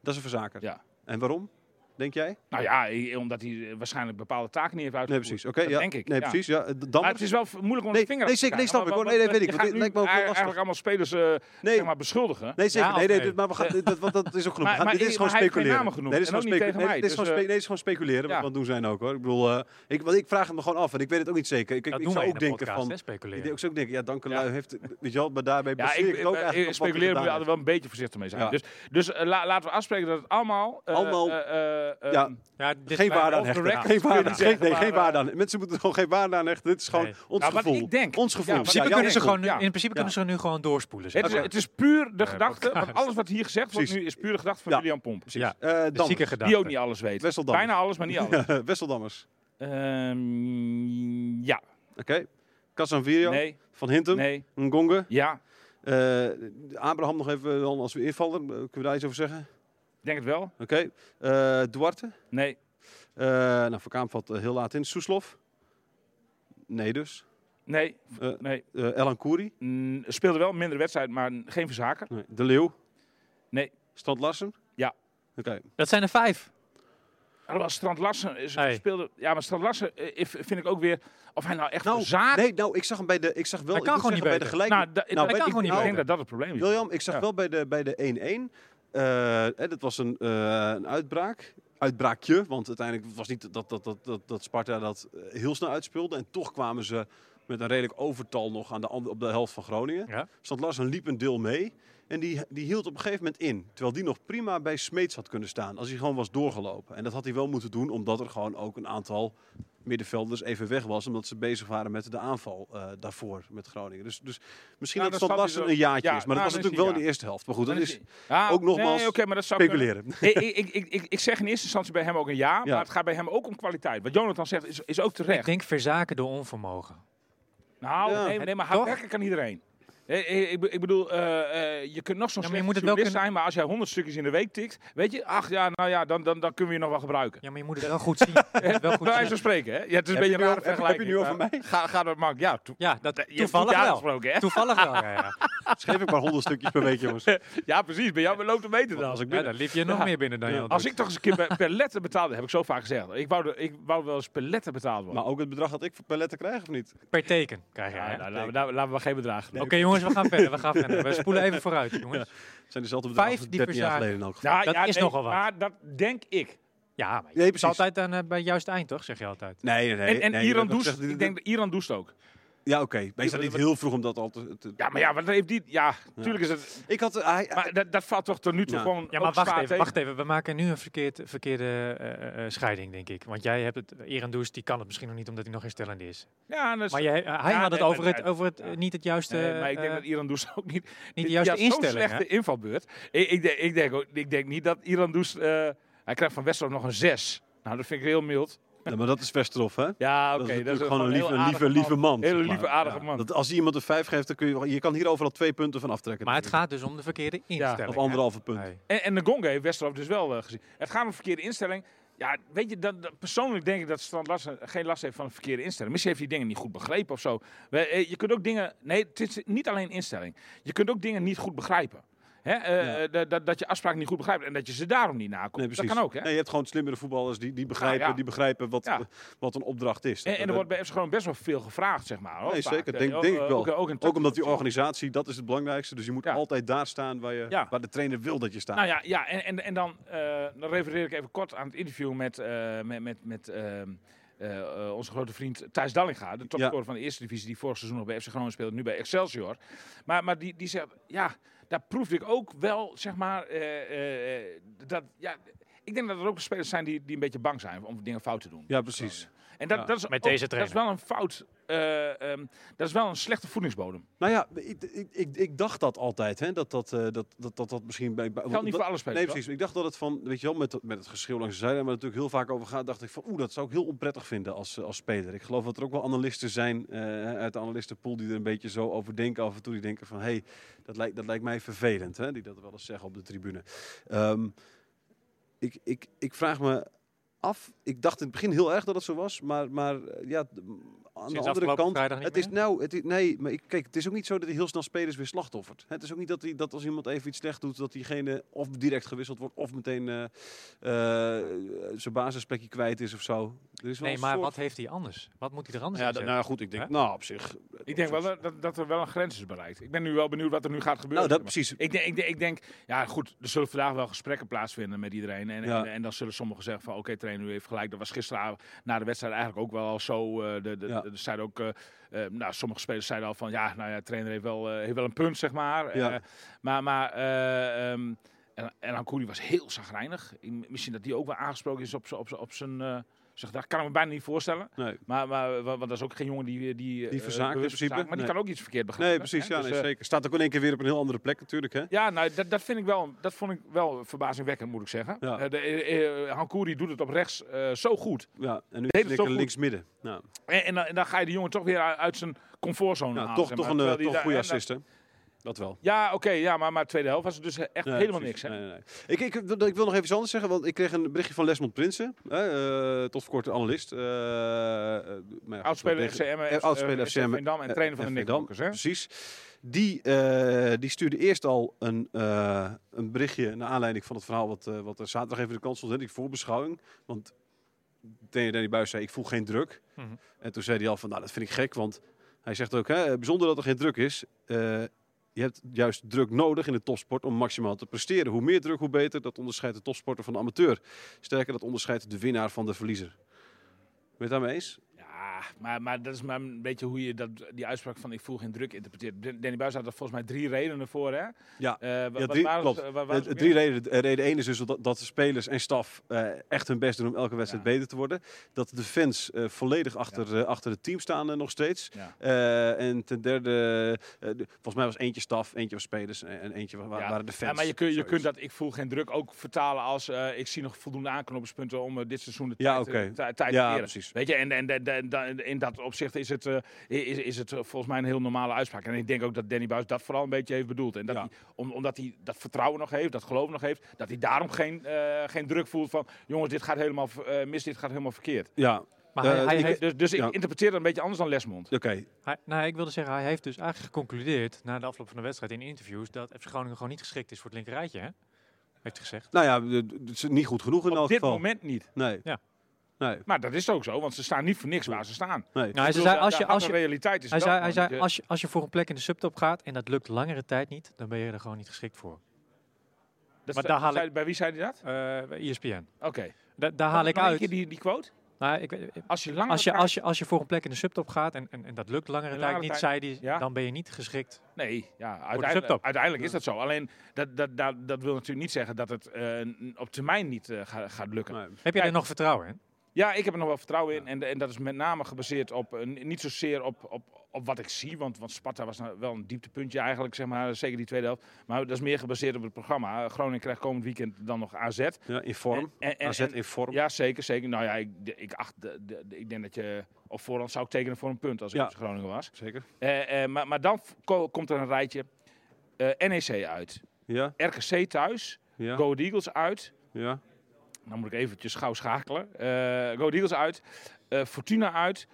[SPEAKER 2] Dat is een verzaker.
[SPEAKER 3] Ja.
[SPEAKER 2] En waarom? Denk jij?
[SPEAKER 3] Nou ja, eh, omdat hij eh, waarschijnlijk bepaalde taken niet heeft
[SPEAKER 2] Nee,
[SPEAKER 3] uitgevoerd.
[SPEAKER 2] precies. Oké,
[SPEAKER 3] Dat
[SPEAKER 2] ja.
[SPEAKER 3] denk ik,
[SPEAKER 2] Nee,
[SPEAKER 3] ja.
[SPEAKER 2] precies. Ja. eh, D-
[SPEAKER 3] Maar
[SPEAKER 2] Dammer?
[SPEAKER 3] het is wel v- moeilijk om
[SPEAKER 2] Nee,
[SPEAKER 3] de vinger
[SPEAKER 2] nee,
[SPEAKER 3] af te
[SPEAKER 2] zeker, nee,
[SPEAKER 3] krijgen,
[SPEAKER 2] snap ik
[SPEAKER 3] want-
[SPEAKER 2] hoor. Nee,
[SPEAKER 3] want-
[SPEAKER 2] dat weet ik,
[SPEAKER 3] want
[SPEAKER 2] want dit
[SPEAKER 3] je gaat nu
[SPEAKER 2] lijkt me ook wel
[SPEAKER 3] eigenlijk
[SPEAKER 2] lastig.
[SPEAKER 3] eigenlijk allemaal spelers eh,
[SPEAKER 2] Nee.
[SPEAKER 3] zeg maar, beschuldigen.
[SPEAKER 2] Nee, zeker.
[SPEAKER 4] Ja,
[SPEAKER 2] nee,
[SPEAKER 4] of
[SPEAKER 2] nee,
[SPEAKER 4] nee?
[SPEAKER 2] dit- maar, we gaan, dit- dat, want dat is ook genoeg.
[SPEAKER 3] Maar-
[SPEAKER 2] We gaan-
[SPEAKER 3] maar
[SPEAKER 2] dit is
[SPEAKER 3] ik-
[SPEAKER 2] gewoon
[SPEAKER 3] maar hij heeft geen
[SPEAKER 2] speculeren.
[SPEAKER 3] namen genoemd
[SPEAKER 2] Nee, dit is
[SPEAKER 3] en
[SPEAKER 2] gewoon,
[SPEAKER 3] ook niet
[SPEAKER 2] specu-
[SPEAKER 3] tegen
[SPEAKER 2] nee, dit
[SPEAKER 3] mij,
[SPEAKER 2] is gewoon
[SPEAKER 3] dus,
[SPEAKER 2] spe- nee, dit is gewoon speculeren.
[SPEAKER 3] ja.
[SPEAKER 2] Want dat doen zij nou ook hoor. Ik bedoel, eh, ik, want ik vraag het me gewoon af. En ik weet het ook niet zeker. Ik, ik,
[SPEAKER 4] Dat
[SPEAKER 2] ik
[SPEAKER 4] doen
[SPEAKER 2] zou
[SPEAKER 4] wij
[SPEAKER 2] ook
[SPEAKER 4] in de
[SPEAKER 2] denken
[SPEAKER 4] podcast,
[SPEAKER 2] van.
[SPEAKER 4] hè,
[SPEAKER 2] Ik
[SPEAKER 4] speculeren.
[SPEAKER 2] denk ook zo ook denken, ja, Dankerlui
[SPEAKER 3] Ja.
[SPEAKER 2] heeft. Weet je wel, maar daarbij
[SPEAKER 3] Ja,
[SPEAKER 2] baseer
[SPEAKER 3] ik,
[SPEAKER 2] ik, het ook
[SPEAKER 3] eh,
[SPEAKER 2] eigenlijk op wat hij
[SPEAKER 3] speculeren moet je
[SPEAKER 2] gedaan
[SPEAKER 3] altijd wel een beetje voorzichtig mee zijn.
[SPEAKER 2] Ja.
[SPEAKER 3] Dus, dus eh, la- laten we afspreken dat het allemaal... eh,
[SPEAKER 2] Allemaal-
[SPEAKER 3] eh, eh, eh,
[SPEAKER 2] Ja.
[SPEAKER 4] Ja,
[SPEAKER 2] heeft.
[SPEAKER 4] dit
[SPEAKER 2] Geen
[SPEAKER 4] lijkt me
[SPEAKER 2] waarde aan
[SPEAKER 4] off the
[SPEAKER 2] hechten.
[SPEAKER 4] record.
[SPEAKER 2] Geen waarde aan
[SPEAKER 3] kunnen zeggen,
[SPEAKER 2] hechten. Nee, geen
[SPEAKER 3] maar,
[SPEAKER 2] waarde aan. Mensen moeten er gewoon geen waarde aan hechten. Dit is gewoon
[SPEAKER 4] Nee.
[SPEAKER 2] ons
[SPEAKER 3] Nou, wat
[SPEAKER 2] gevoel.
[SPEAKER 3] ik denk-
[SPEAKER 2] Ons
[SPEAKER 3] Ja,
[SPEAKER 2] gevoel.
[SPEAKER 3] wat
[SPEAKER 4] In principe,
[SPEAKER 3] Ja,
[SPEAKER 4] kunnen, ze
[SPEAKER 3] jij
[SPEAKER 4] gewoon,
[SPEAKER 3] denkt, ja.
[SPEAKER 4] in principe kunnen ze gewoon nu gewoon doorspoelen. zeg
[SPEAKER 3] Het is,
[SPEAKER 4] maar.
[SPEAKER 3] het is puur de
[SPEAKER 4] Eh,
[SPEAKER 3] gedachte, want
[SPEAKER 4] podcast.
[SPEAKER 3] alles wat hier gezegd wordt
[SPEAKER 2] Precies.
[SPEAKER 3] nu is puur de gedachte van
[SPEAKER 2] Ja.
[SPEAKER 3] Julian Pomp.
[SPEAKER 4] ja,
[SPEAKER 2] Eh,
[SPEAKER 4] de zieke
[SPEAKER 2] Dammers.
[SPEAKER 4] gedachte.
[SPEAKER 3] Die ook niet alles weet.
[SPEAKER 2] Wessel Dammers.
[SPEAKER 3] Bijna alles, maar niet alles.
[SPEAKER 2] Wesseldammers.
[SPEAKER 3] Ehm, ja,
[SPEAKER 2] Oké. Casanvirio.
[SPEAKER 3] nee,
[SPEAKER 2] Van Hintem.
[SPEAKER 3] nee,
[SPEAKER 2] Ngonge.
[SPEAKER 3] ja,
[SPEAKER 2] Eh, Abraham nog even dan als we invallen. Eh, Kunnen we daar iets over zeggen?
[SPEAKER 3] denk het wel.
[SPEAKER 2] Oké. Eh, Duarte.
[SPEAKER 3] Nee,
[SPEAKER 2] Eh, nou, Van Kaam valt eh, heel laat in. Soeslof. Nee dus.
[SPEAKER 3] nee,
[SPEAKER 2] Eh,
[SPEAKER 3] nee.
[SPEAKER 2] eh, Elan Koeri.
[SPEAKER 3] Mm, speelde wel minder wedstrijd, maar geen verzaker.
[SPEAKER 2] Nee. De Leeuw.
[SPEAKER 3] Nee.
[SPEAKER 2] Strand Larsen.
[SPEAKER 3] Ja.
[SPEAKER 2] Oké.
[SPEAKER 4] Dat zijn er vijf.
[SPEAKER 3] Alhoewel, Strand Larsen is,
[SPEAKER 4] Hey.
[SPEAKER 3] speelde... Ja, maar Strand Larsen eh, if- vind ik ook weer... Of hij nou echt
[SPEAKER 2] Nou,
[SPEAKER 3] verzaakt...
[SPEAKER 2] Nee, nou, ik zag hem bij de... Ik zag wel,
[SPEAKER 4] Hij
[SPEAKER 2] ik
[SPEAKER 4] kan
[SPEAKER 2] moet
[SPEAKER 4] gewoon niet
[SPEAKER 2] zeggen, bij de
[SPEAKER 4] beter.
[SPEAKER 2] gelijk...
[SPEAKER 3] nou, da-
[SPEAKER 2] nou,
[SPEAKER 3] ik-
[SPEAKER 4] kan gewoon niet
[SPEAKER 3] ik
[SPEAKER 4] beter.
[SPEAKER 3] denk dat dat het probleem is.
[SPEAKER 2] William, ik zag
[SPEAKER 3] Ja.
[SPEAKER 2] wel bij de 1-1. Bij de 1-1, eh, hè, dat was een, eh, een uitbraak. Uitbraakje, want uiteindelijk was niet dat, dat, dat, dat, dat Sparta dat eh, heel snel uitspeelde. En toch kwamen ze met een redelijk overtal nog aan de, ander- op de helft van Groningen.
[SPEAKER 4] Ja.
[SPEAKER 2] Stond Larsen liep een deel mee. En die, die hield op een gegeven moment in. Terwijl die nog prima bij Smeets had kunnen staan. Als hij gewoon was doorgelopen. En dat had hij wel moeten doen, omdat er gewoon ook een aantal middenvelders even weg was. Omdat ze bezig waren met de aanval eh, daarvoor met Groningen. Dus, dus misschien
[SPEAKER 3] Ja,
[SPEAKER 2] dat Stad
[SPEAKER 3] dan staat hij
[SPEAKER 2] Larsen
[SPEAKER 3] zo-
[SPEAKER 2] een jaartje
[SPEAKER 3] Ja,
[SPEAKER 2] is. Maar
[SPEAKER 3] nou,
[SPEAKER 2] dat was
[SPEAKER 3] dan
[SPEAKER 2] natuurlijk
[SPEAKER 3] is hij
[SPEAKER 2] wel in
[SPEAKER 3] ja.
[SPEAKER 2] de eerste helft. Maar goed, dat
[SPEAKER 3] Dan
[SPEAKER 2] is
[SPEAKER 3] hij- Ja,
[SPEAKER 2] ook nogmaals
[SPEAKER 3] nee, oké, maar dat zou kunnen.
[SPEAKER 2] speculeren.
[SPEAKER 3] ik, ik, ik, ik, ik zeg in eerste instantie bij hem ook een ja, maar
[SPEAKER 2] Ja.
[SPEAKER 3] het gaat bij hem ook om kwaliteit. Wat Jonathan zegt is, is ook
[SPEAKER 4] Ik
[SPEAKER 3] terecht.
[SPEAKER 4] denk verzaken door onvermogen.
[SPEAKER 3] Nou,
[SPEAKER 2] Ja.
[SPEAKER 3] nee, nee, maar
[SPEAKER 4] Toch?
[SPEAKER 3] hard werken kan iedereen. Eh, eh, Ik, be- ik bedoel, eh, eh, je kunt nog zo'n
[SPEAKER 4] Ja, maar je
[SPEAKER 3] slechte
[SPEAKER 4] moet het wel
[SPEAKER 3] journalist
[SPEAKER 4] kunnen-
[SPEAKER 3] zijn, maar als jij 100 stukjes in de week tikt, weet je, ach ja, nou ja, dan, dan, dan kunnen we je nog wel gebruiken.
[SPEAKER 4] Ja, maar je moet het wel goed zien. Je moet het wel
[SPEAKER 3] Bij
[SPEAKER 4] goed
[SPEAKER 3] wijze
[SPEAKER 4] zien.
[SPEAKER 3] van spreken, hè? Ja, het
[SPEAKER 2] Heb
[SPEAKER 3] is een
[SPEAKER 2] je
[SPEAKER 3] beetje
[SPEAKER 2] nu
[SPEAKER 3] een rare
[SPEAKER 2] over- heb-
[SPEAKER 3] vergelijking.
[SPEAKER 2] heb je nu over
[SPEAKER 3] maar
[SPEAKER 2] mij?
[SPEAKER 3] Ga, ga dat maken. Ja, toe-
[SPEAKER 4] Ja, dat,
[SPEAKER 3] je voelt je
[SPEAKER 4] toevallig wel.
[SPEAKER 3] aangesproken, hè?
[SPEAKER 4] Toevallig wel, ja. ja.
[SPEAKER 2] Schreef ik maar honderd stukjes per week, jongens.
[SPEAKER 3] Ja, precies. Bij jou loopt de meter dan.
[SPEAKER 2] Als ik
[SPEAKER 4] Ja,
[SPEAKER 2] binnen...
[SPEAKER 4] dan liep je nog
[SPEAKER 3] Ja.
[SPEAKER 4] meer binnen dan je
[SPEAKER 2] Ja.
[SPEAKER 4] al
[SPEAKER 3] Als
[SPEAKER 4] doet.
[SPEAKER 3] ik toch eens een keer per- per letter betaalde, heb ik zo vaak gezegd. Ik wou, de- ik wou wel eens per letter betaald worden.
[SPEAKER 2] Maar ook het bedrag dat ik voor paletten krijg, of niet?
[SPEAKER 4] Per teken krijg je.
[SPEAKER 3] Ja,
[SPEAKER 4] hè?
[SPEAKER 3] nou, laten, we, laten we maar geen bedrag
[SPEAKER 4] Oké jongens, we gaan verder. We gaan verder. We spoelen even vooruit, jongens.
[SPEAKER 2] Het zijn dezelfde bedragen
[SPEAKER 4] Vijf
[SPEAKER 2] als
[SPEAKER 4] die
[SPEAKER 2] 13 jaar
[SPEAKER 4] verzaken.
[SPEAKER 2] geleden in elk geval.
[SPEAKER 3] Nou,
[SPEAKER 4] Dat is nogal wat.
[SPEAKER 3] Maar dat denk ik.
[SPEAKER 4] Ja, maar
[SPEAKER 2] Nee,
[SPEAKER 4] het is
[SPEAKER 2] precies.
[SPEAKER 4] altijd aan, eh, bij het juiste eind, toch? Zeg je altijd.
[SPEAKER 2] Nee, nee, nee.
[SPEAKER 3] En, en
[SPEAKER 2] nee,
[SPEAKER 3] Iran
[SPEAKER 2] dat- dat
[SPEAKER 3] Doest,
[SPEAKER 2] zegt-
[SPEAKER 3] ik denk dat Iran Doest ook.
[SPEAKER 2] Ja, oké. Maar is dat niet heel vroeg om dat al te... te-
[SPEAKER 3] Ja, maar ja, wat heeft die... Ja, natuurlijk is het...
[SPEAKER 2] Ik had... eh, hij-
[SPEAKER 3] Maar dat, dat valt toch tot nu toe
[SPEAKER 2] Ja.
[SPEAKER 3] gewoon
[SPEAKER 4] Ja, maar
[SPEAKER 3] ook
[SPEAKER 4] wacht
[SPEAKER 3] zwaar
[SPEAKER 4] even,
[SPEAKER 3] tegen?
[SPEAKER 4] wacht even. We maken nu een verkeerd, verkeerde eh, eh, eh, scheiding, denk ik. Want jij hebt het, Erendoes, die kan het misschien nog niet, omdat hij nog geen stellend is.
[SPEAKER 3] Ja, dat is-
[SPEAKER 4] Maar jij, eh, hij
[SPEAKER 3] Dus, Ja,
[SPEAKER 4] had het
[SPEAKER 3] nee,
[SPEAKER 4] over
[SPEAKER 3] maar-
[SPEAKER 4] het, over het
[SPEAKER 3] ja.
[SPEAKER 4] eh, niet het juiste...
[SPEAKER 3] Nee, maar ik denk
[SPEAKER 4] eh,
[SPEAKER 3] dat Iran Does ook niet,
[SPEAKER 4] niet de
[SPEAKER 3] die
[SPEAKER 4] juiste
[SPEAKER 3] had zo'n
[SPEAKER 4] instelling, hè?
[SPEAKER 3] slechte invalbeurt. Ik, ik, denk, ik, denk ook, ik denk niet dat Iran Does... eh, hij krijgt van Westerhof nog een 6. Nou, dat vind ik heel mild.
[SPEAKER 2] Ja, maar dat is Westerhof, hè?
[SPEAKER 3] Ja, oké.
[SPEAKER 2] dat is natuurlijk
[SPEAKER 3] een
[SPEAKER 2] gewoon een lieve,
[SPEAKER 3] heel
[SPEAKER 2] een lieve,
[SPEAKER 3] aardige
[SPEAKER 2] lieve man.
[SPEAKER 3] Hele
[SPEAKER 2] zeg maar.
[SPEAKER 3] lieve, aardige
[SPEAKER 2] Ja.
[SPEAKER 3] man.
[SPEAKER 2] Dat als je iemand een vijf geeft, dan kun je... Je kan hier overal twee punten van aftrekken.
[SPEAKER 4] maar het gaat dus om de verkeerde instelling.
[SPEAKER 2] Of
[SPEAKER 4] hè?
[SPEAKER 2] anderhalve punt.
[SPEAKER 4] Nee.
[SPEAKER 3] En, en de Gonga heeft Westerhof dus wel eh, gezien. Het gaat om een verkeerde instelling. Ja, weet je, dat, dat- persoonlijk denk ik dat Strand Larsen geen last heeft van een verkeerde instelling. Misschien heeft hij dingen niet goed begrepen of zo. We- eh, Je kunt ook dingen... Nee, het is niet alleen instelling. Je kunt ook dingen niet goed begrijpen. Hè? eh, dat- dat, dat je afspraken niet goed begrijpt en dat je ze daarom niet nakomt.
[SPEAKER 2] Nee,
[SPEAKER 3] dat
[SPEAKER 2] precies.
[SPEAKER 3] kan ook, hè?
[SPEAKER 2] Nee, je hebt gewoon slimmere voetballers die, die begrijpen,
[SPEAKER 3] ja.
[SPEAKER 2] die begrijpen wat,
[SPEAKER 3] Ja.
[SPEAKER 2] wat een opdracht is.
[SPEAKER 3] En, en er
[SPEAKER 2] Dat-
[SPEAKER 3] wordt bij FC gewoon best wel veel gevraagd, zeg maar. hoor,
[SPEAKER 2] Nee,
[SPEAKER 3] vaak.
[SPEAKER 2] zeker.
[SPEAKER 3] Eh,
[SPEAKER 2] Denk,
[SPEAKER 3] ook-
[SPEAKER 2] denk ik
[SPEAKER 3] eh,
[SPEAKER 2] wel.
[SPEAKER 3] Ook, ook, in
[SPEAKER 2] Ook omdat die
[SPEAKER 3] tactisch-
[SPEAKER 2] organisatie, dat is het belangrijkste. Dus je moet
[SPEAKER 3] Ja.
[SPEAKER 2] altijd daar staan waar, je,
[SPEAKER 3] Ja.
[SPEAKER 2] waar de trainer wil dat je staat.
[SPEAKER 3] Nou ja, ja en, en, en dan, eh, dan refereer ik even kort aan het interview met, eh, met, met, met ehm, eh, eh, onze grote vriend Thijs Dallinga. De topscorer van de eerste divisie die vorig seizoen nog bij FC Groningen speelde. Nu bij Excelsior. Maar, maar die, die zegt, ja, daar proefde ik ook wel, zeg maar, eh, eh, eh, dat... Ja, ik denk dat er ook spelers zijn die, die een beetje bang zijn om dingen fout te doen.
[SPEAKER 2] Ja, precies.
[SPEAKER 3] En dat,
[SPEAKER 2] Ja,
[SPEAKER 3] dat is
[SPEAKER 4] met
[SPEAKER 3] ook-
[SPEAKER 4] deze
[SPEAKER 3] Dat is wel een fout. eh, ehm, dat is wel een slechte voedingsbodem.
[SPEAKER 2] Nou ja, ik, ik, ik, ik dacht dat altijd. Hè, dat, dat, eh, dat, dat, dat dat misschien bij. bij-
[SPEAKER 3] Geldt niet
[SPEAKER 2] dat-
[SPEAKER 3] voor alle spelers,
[SPEAKER 2] Eh, Nee,
[SPEAKER 3] hoor.
[SPEAKER 2] precies. Ik dacht dat het van, weet je wel, met, dat- met het geschil langs de zijlijn, maar natuurlijk heel vaak over gaat, dacht ik van, oeh, dat zou ik heel onprettig vinden als, eh, als speler. Ik geloof dat er ook wel analisten zijn eh, uit de analistenpool die er een beetje zo over denken af en toe. Die denken van, hé, hey, dat, lijkt, dat lijkt mij vervelend. Hè, die dat wel eens zeggen op de tribune. Ehm, ik, ik, ik vraag me af, ik dacht in het begin heel erg dat het zo was, maar, maar eh, ja, d- aan
[SPEAKER 4] Sinds
[SPEAKER 2] de andere
[SPEAKER 4] afgelopen
[SPEAKER 2] kant,
[SPEAKER 4] vrijdag niet
[SPEAKER 2] het is
[SPEAKER 4] meer?
[SPEAKER 2] nou, het is, nee, maar ik, kijk, het is ook niet zo dat hij heel snel spelers weer slachtoffert. Het is ook niet dat, hij, dat als iemand even iets slecht doet, dat diegene of direct gewisseld wordt of meteen eh, eh, zijn basisplekje kwijt is of zo. Er is wel
[SPEAKER 4] Nee,
[SPEAKER 2] een
[SPEAKER 4] maar
[SPEAKER 2] soort-
[SPEAKER 4] wat heeft hij anders? Wat moet hij er anders
[SPEAKER 2] ja,
[SPEAKER 4] in
[SPEAKER 2] d- nou
[SPEAKER 4] zetten?
[SPEAKER 2] ja, goed, ik denk,
[SPEAKER 4] Hè?
[SPEAKER 2] nou op zich.
[SPEAKER 3] Ik denk wel dat- dat, dat er wel een grens is bereikt. Ik ben nu wel benieuwd wat er nu gaat gebeuren.
[SPEAKER 2] Nou, dat precies.
[SPEAKER 3] Ik denk, ik, denk, ik denk, ja goed, er zullen vandaag wel gesprekken plaatsvinden met iedereen. En,
[SPEAKER 2] Ja.
[SPEAKER 3] en, en dan zullen sommigen zeggen van, oké trainer, u heeft gelijk. Dat was gisteravond na de wedstrijd eigenlijk ook wel al zo. eh, de, de,
[SPEAKER 2] Ja.
[SPEAKER 3] de- de- zeiden ook, eh, eh, nou, sommige spelers zeiden al van, ja, nou ja, trainer heeft wel, eh, heeft wel een punt, zeg maar.
[SPEAKER 2] Ja.
[SPEAKER 3] Eh, maar, maar, eh, ehm, en, en Ankouri was heel zagrijnig. Ik- Misschien dat die ook wel aangesproken is op, z'n- op, z'n- op zijn... eh zeg, dat kan ik me bijna niet voorstellen.
[SPEAKER 2] Nee.
[SPEAKER 3] Maar, maar want dat is ook geen jongen die... Die, eh,
[SPEAKER 2] Die verzaakt in
[SPEAKER 3] bewust
[SPEAKER 2] principe.
[SPEAKER 3] verzaakt, Maar die
[SPEAKER 2] Nee.
[SPEAKER 3] kan ook iets verkeerd begrijpen.
[SPEAKER 2] Nee, precies,
[SPEAKER 3] hè?
[SPEAKER 2] ja,
[SPEAKER 3] Dus,
[SPEAKER 2] nee,
[SPEAKER 3] eh,
[SPEAKER 2] zeker. Staat ook in één keer weer op een heel andere plek natuurlijk, hè?
[SPEAKER 3] ja, nou, dat, dat vind ik wel, dat vond ik wel verbazingwekkend, moet ik zeggen.
[SPEAKER 2] Ja.
[SPEAKER 3] Eh, de- eh, eh, Hankouri doet het op rechts eh, zo goed.
[SPEAKER 2] Ja, en nu
[SPEAKER 3] het
[SPEAKER 2] is ik
[SPEAKER 3] toch goed.
[SPEAKER 2] links midden. Nou,
[SPEAKER 3] En, en, dan- en dan ga je de jongen toch weer uit, uit zijn comfortzone
[SPEAKER 2] nou,
[SPEAKER 3] halen,
[SPEAKER 2] toch,
[SPEAKER 3] zeg
[SPEAKER 2] toch
[SPEAKER 3] maar.
[SPEAKER 2] een eh,
[SPEAKER 3] Terwijl die
[SPEAKER 2] toch
[SPEAKER 3] daar-
[SPEAKER 2] goede
[SPEAKER 3] en dan-
[SPEAKER 2] assist, hè? Dat wel.
[SPEAKER 3] Ja, oké, ja, maar, maar tweede helft was het dus echt
[SPEAKER 2] Nee,
[SPEAKER 3] helemaal
[SPEAKER 2] precies.
[SPEAKER 3] niks. Hè?
[SPEAKER 2] Nee, nee, nee. Ik, ik, wil- ik wil nog even iets anders zeggen, want ik kreeg een berichtje van Lesmond Prinsen. Hè, eh, tot voor kort een analist. eh, eh, maar ja,
[SPEAKER 3] Oudspeler
[SPEAKER 2] tegen-
[SPEAKER 3] FCM,
[SPEAKER 2] eh, oudspeler FCM,
[SPEAKER 3] Dam en
[SPEAKER 2] eh,
[SPEAKER 3] trainer van de
[SPEAKER 2] FV
[SPEAKER 3] Nikkelokkers. hè?
[SPEAKER 2] Precies. Die, eh, die stuurde eerst al een, eh, een berichtje naar aanleiding van het verhaal wat, eh, wat er zaterdag even in de kans stond, hè, die voorbeschouwing. Want trainer Danny Buis zei, ik voel geen druk.
[SPEAKER 4] Mhm.
[SPEAKER 2] En toen zei hij al van, nou dat vind ik gek, want hij zegt ook, hè, bijzonder dat er geen druk is. Eh, je hebt juist druk nodig in de topsport om maximaal te presteren. Hoe meer druk, hoe beter. Dat onderscheidt de topsporter van de amateur. Sterker, dat onderscheidt de winnaar van de verliezer. Ben je het daarmee eens?
[SPEAKER 3] Ja, maar, maar dat is maar een beetje hoe je dat, die uitspraak van ik voel geen druk interpreteert. Dan- Danny Buis had er volgens mij drie redenen voor, hè?
[SPEAKER 2] Ja.
[SPEAKER 3] Eh, wa- wat
[SPEAKER 2] drie-
[SPEAKER 3] waren het,
[SPEAKER 2] klopt.
[SPEAKER 3] eh, wa- waren
[SPEAKER 2] Eh,
[SPEAKER 3] het ook
[SPEAKER 2] drie
[SPEAKER 3] weer?
[SPEAKER 2] redenen. Eh, Reden één is dus dat, dat de spelers en staf eh, echt hun best doen om elke wedstrijd
[SPEAKER 3] Ja.
[SPEAKER 2] beter te worden. Dat de fans eh, volledig achter, eh, achter het team staan eh, nog steeds.
[SPEAKER 3] Ja.
[SPEAKER 2] Eh, en ten derde, eh, de- volgens mij was eentje staf, eentje was spelers eh, en, en eentje wa- wa-
[SPEAKER 3] Ja.
[SPEAKER 2] waren de fans.
[SPEAKER 3] Ja, maar je, kun, je
[SPEAKER 2] Zoiets.
[SPEAKER 3] kunt dat ik voel geen druk ook vertalen als eh, ik zie nog voldoende aanknopingspunten om eh, dit seizoen de
[SPEAKER 2] Ja,
[SPEAKER 3] tijd,
[SPEAKER 2] oké.
[SPEAKER 3] eh, ti- tijd te
[SPEAKER 2] Ja,
[SPEAKER 3] eren.
[SPEAKER 2] precies.
[SPEAKER 3] Weet je, en, en, en- en- en- in dat opzicht is het, eh, is, is het eh, volgens mij een heel normale uitspraak. En ik denk ook dat Danny Buis dat vooral een beetje heeft bedoeld. En dat
[SPEAKER 2] Ja.
[SPEAKER 3] hij, om- omdat hij dat vertrouwen nog heeft, dat geloof nog heeft, dat hij daarom geen, eh, geen druk voelt van jongens, dit gaat helemaal v- eh, mis, dit gaat helemaal verkeerd.
[SPEAKER 2] Ja,
[SPEAKER 4] Maar
[SPEAKER 2] Eh,
[SPEAKER 4] hij, hij
[SPEAKER 2] ik-
[SPEAKER 4] heeft,
[SPEAKER 3] Dus, dus
[SPEAKER 2] Ja.
[SPEAKER 3] ik interpreteer dat een beetje anders dan Lesmond.
[SPEAKER 2] oké.
[SPEAKER 4] hij- nou, ik wilde zeggen, hij heeft dus eigenlijk geconcludeerd na de afloop van de wedstrijd in interviews dat FC Groningen gewoon niet geschikt is voor het linkerrijtje, hè? Heeft hij gezegd.
[SPEAKER 2] Nou ja, eh, het is niet goed genoeg in
[SPEAKER 3] Op
[SPEAKER 2] elk
[SPEAKER 3] dit
[SPEAKER 2] geval.
[SPEAKER 3] moment niet.
[SPEAKER 2] Nee.
[SPEAKER 4] Ja.
[SPEAKER 2] Nee,
[SPEAKER 3] Maar dat is ook zo, want ze staan niet voor niks waar ze staan.
[SPEAKER 2] nee.
[SPEAKER 4] Nou, hij
[SPEAKER 3] Ik bedoel,
[SPEAKER 4] zei,
[SPEAKER 3] de-
[SPEAKER 4] als
[SPEAKER 3] de
[SPEAKER 4] je, als
[SPEAKER 3] harde
[SPEAKER 4] je,
[SPEAKER 3] realiteit is
[SPEAKER 4] Hij
[SPEAKER 3] wel
[SPEAKER 4] zei, hij zei
[SPEAKER 3] gewoon dat je-
[SPEAKER 4] als, je, als je voor een plek in de subtop gaat en dat lukt langere tijd niet, dan ben je er gewoon niet geschikt voor.
[SPEAKER 3] dat
[SPEAKER 4] maar
[SPEAKER 3] zei-
[SPEAKER 4] daar haal ik-
[SPEAKER 3] zei- bij wie zei hij dat?
[SPEAKER 4] Eh ESPN.
[SPEAKER 3] Oké.
[SPEAKER 4] Da- daar haal ik
[SPEAKER 3] Nog een
[SPEAKER 4] uit.
[SPEAKER 3] keer die, die quote?
[SPEAKER 4] Maar ik, weet-
[SPEAKER 3] Als je lang
[SPEAKER 4] als, je, als, je, als je voor een plek in de subtop gaat en, en, en dat lukt langere
[SPEAKER 3] En
[SPEAKER 4] tijd
[SPEAKER 3] langere
[SPEAKER 4] niet, zei
[SPEAKER 3] tijd-
[SPEAKER 4] die,
[SPEAKER 3] ja.
[SPEAKER 4] dan ben je niet geschikt.
[SPEAKER 3] Nee, ja,
[SPEAKER 4] subtop.
[SPEAKER 3] uiteindelijk, uiteindelijk is dat zo. Alleen dat, dat, dat, dat wil natuurlijk niet zeggen dat het eh, n- op termijn niet eh, ga- gaat lukken.
[SPEAKER 2] Nee.
[SPEAKER 4] Heb je
[SPEAKER 3] Kijk.
[SPEAKER 4] er nog vertrouwen in?
[SPEAKER 3] Ja, ik heb er nog wel vertrouwen in. En, en dat is met name gebaseerd op, eh, niet zozeer op, op, op wat ik zie. Want, want Sparta was nou wel een dieptepuntje eigenlijk, zeg maar, zeker die tweede helft. Maar dat is meer gebaseerd op het programma. Groningen krijgt komend weekend dan nog AZ.
[SPEAKER 2] Ja, in vorm.
[SPEAKER 3] En- en- en-
[SPEAKER 2] AZ in vorm.
[SPEAKER 3] Ja, zeker, zeker. Nou ja, ik, de- ik, acht, de- de- de- ik denk dat je op voorhand zou ik tekenen voor een punt als ik
[SPEAKER 2] Ja.
[SPEAKER 3] dus Groningen was.
[SPEAKER 2] Zeker.
[SPEAKER 3] Eh, eh, maar, maar dan v- ko- komt er een rijtje eh, NEC uit,
[SPEAKER 2] Ja,
[SPEAKER 3] RKC thuis, Go
[SPEAKER 2] ja,
[SPEAKER 3] Ahead Eagles uit.
[SPEAKER 2] ja.
[SPEAKER 3] Dan moet ik eventjes gauw schakelen. Eh, Go Ahead Eagles uit, eh, Fortuna uit,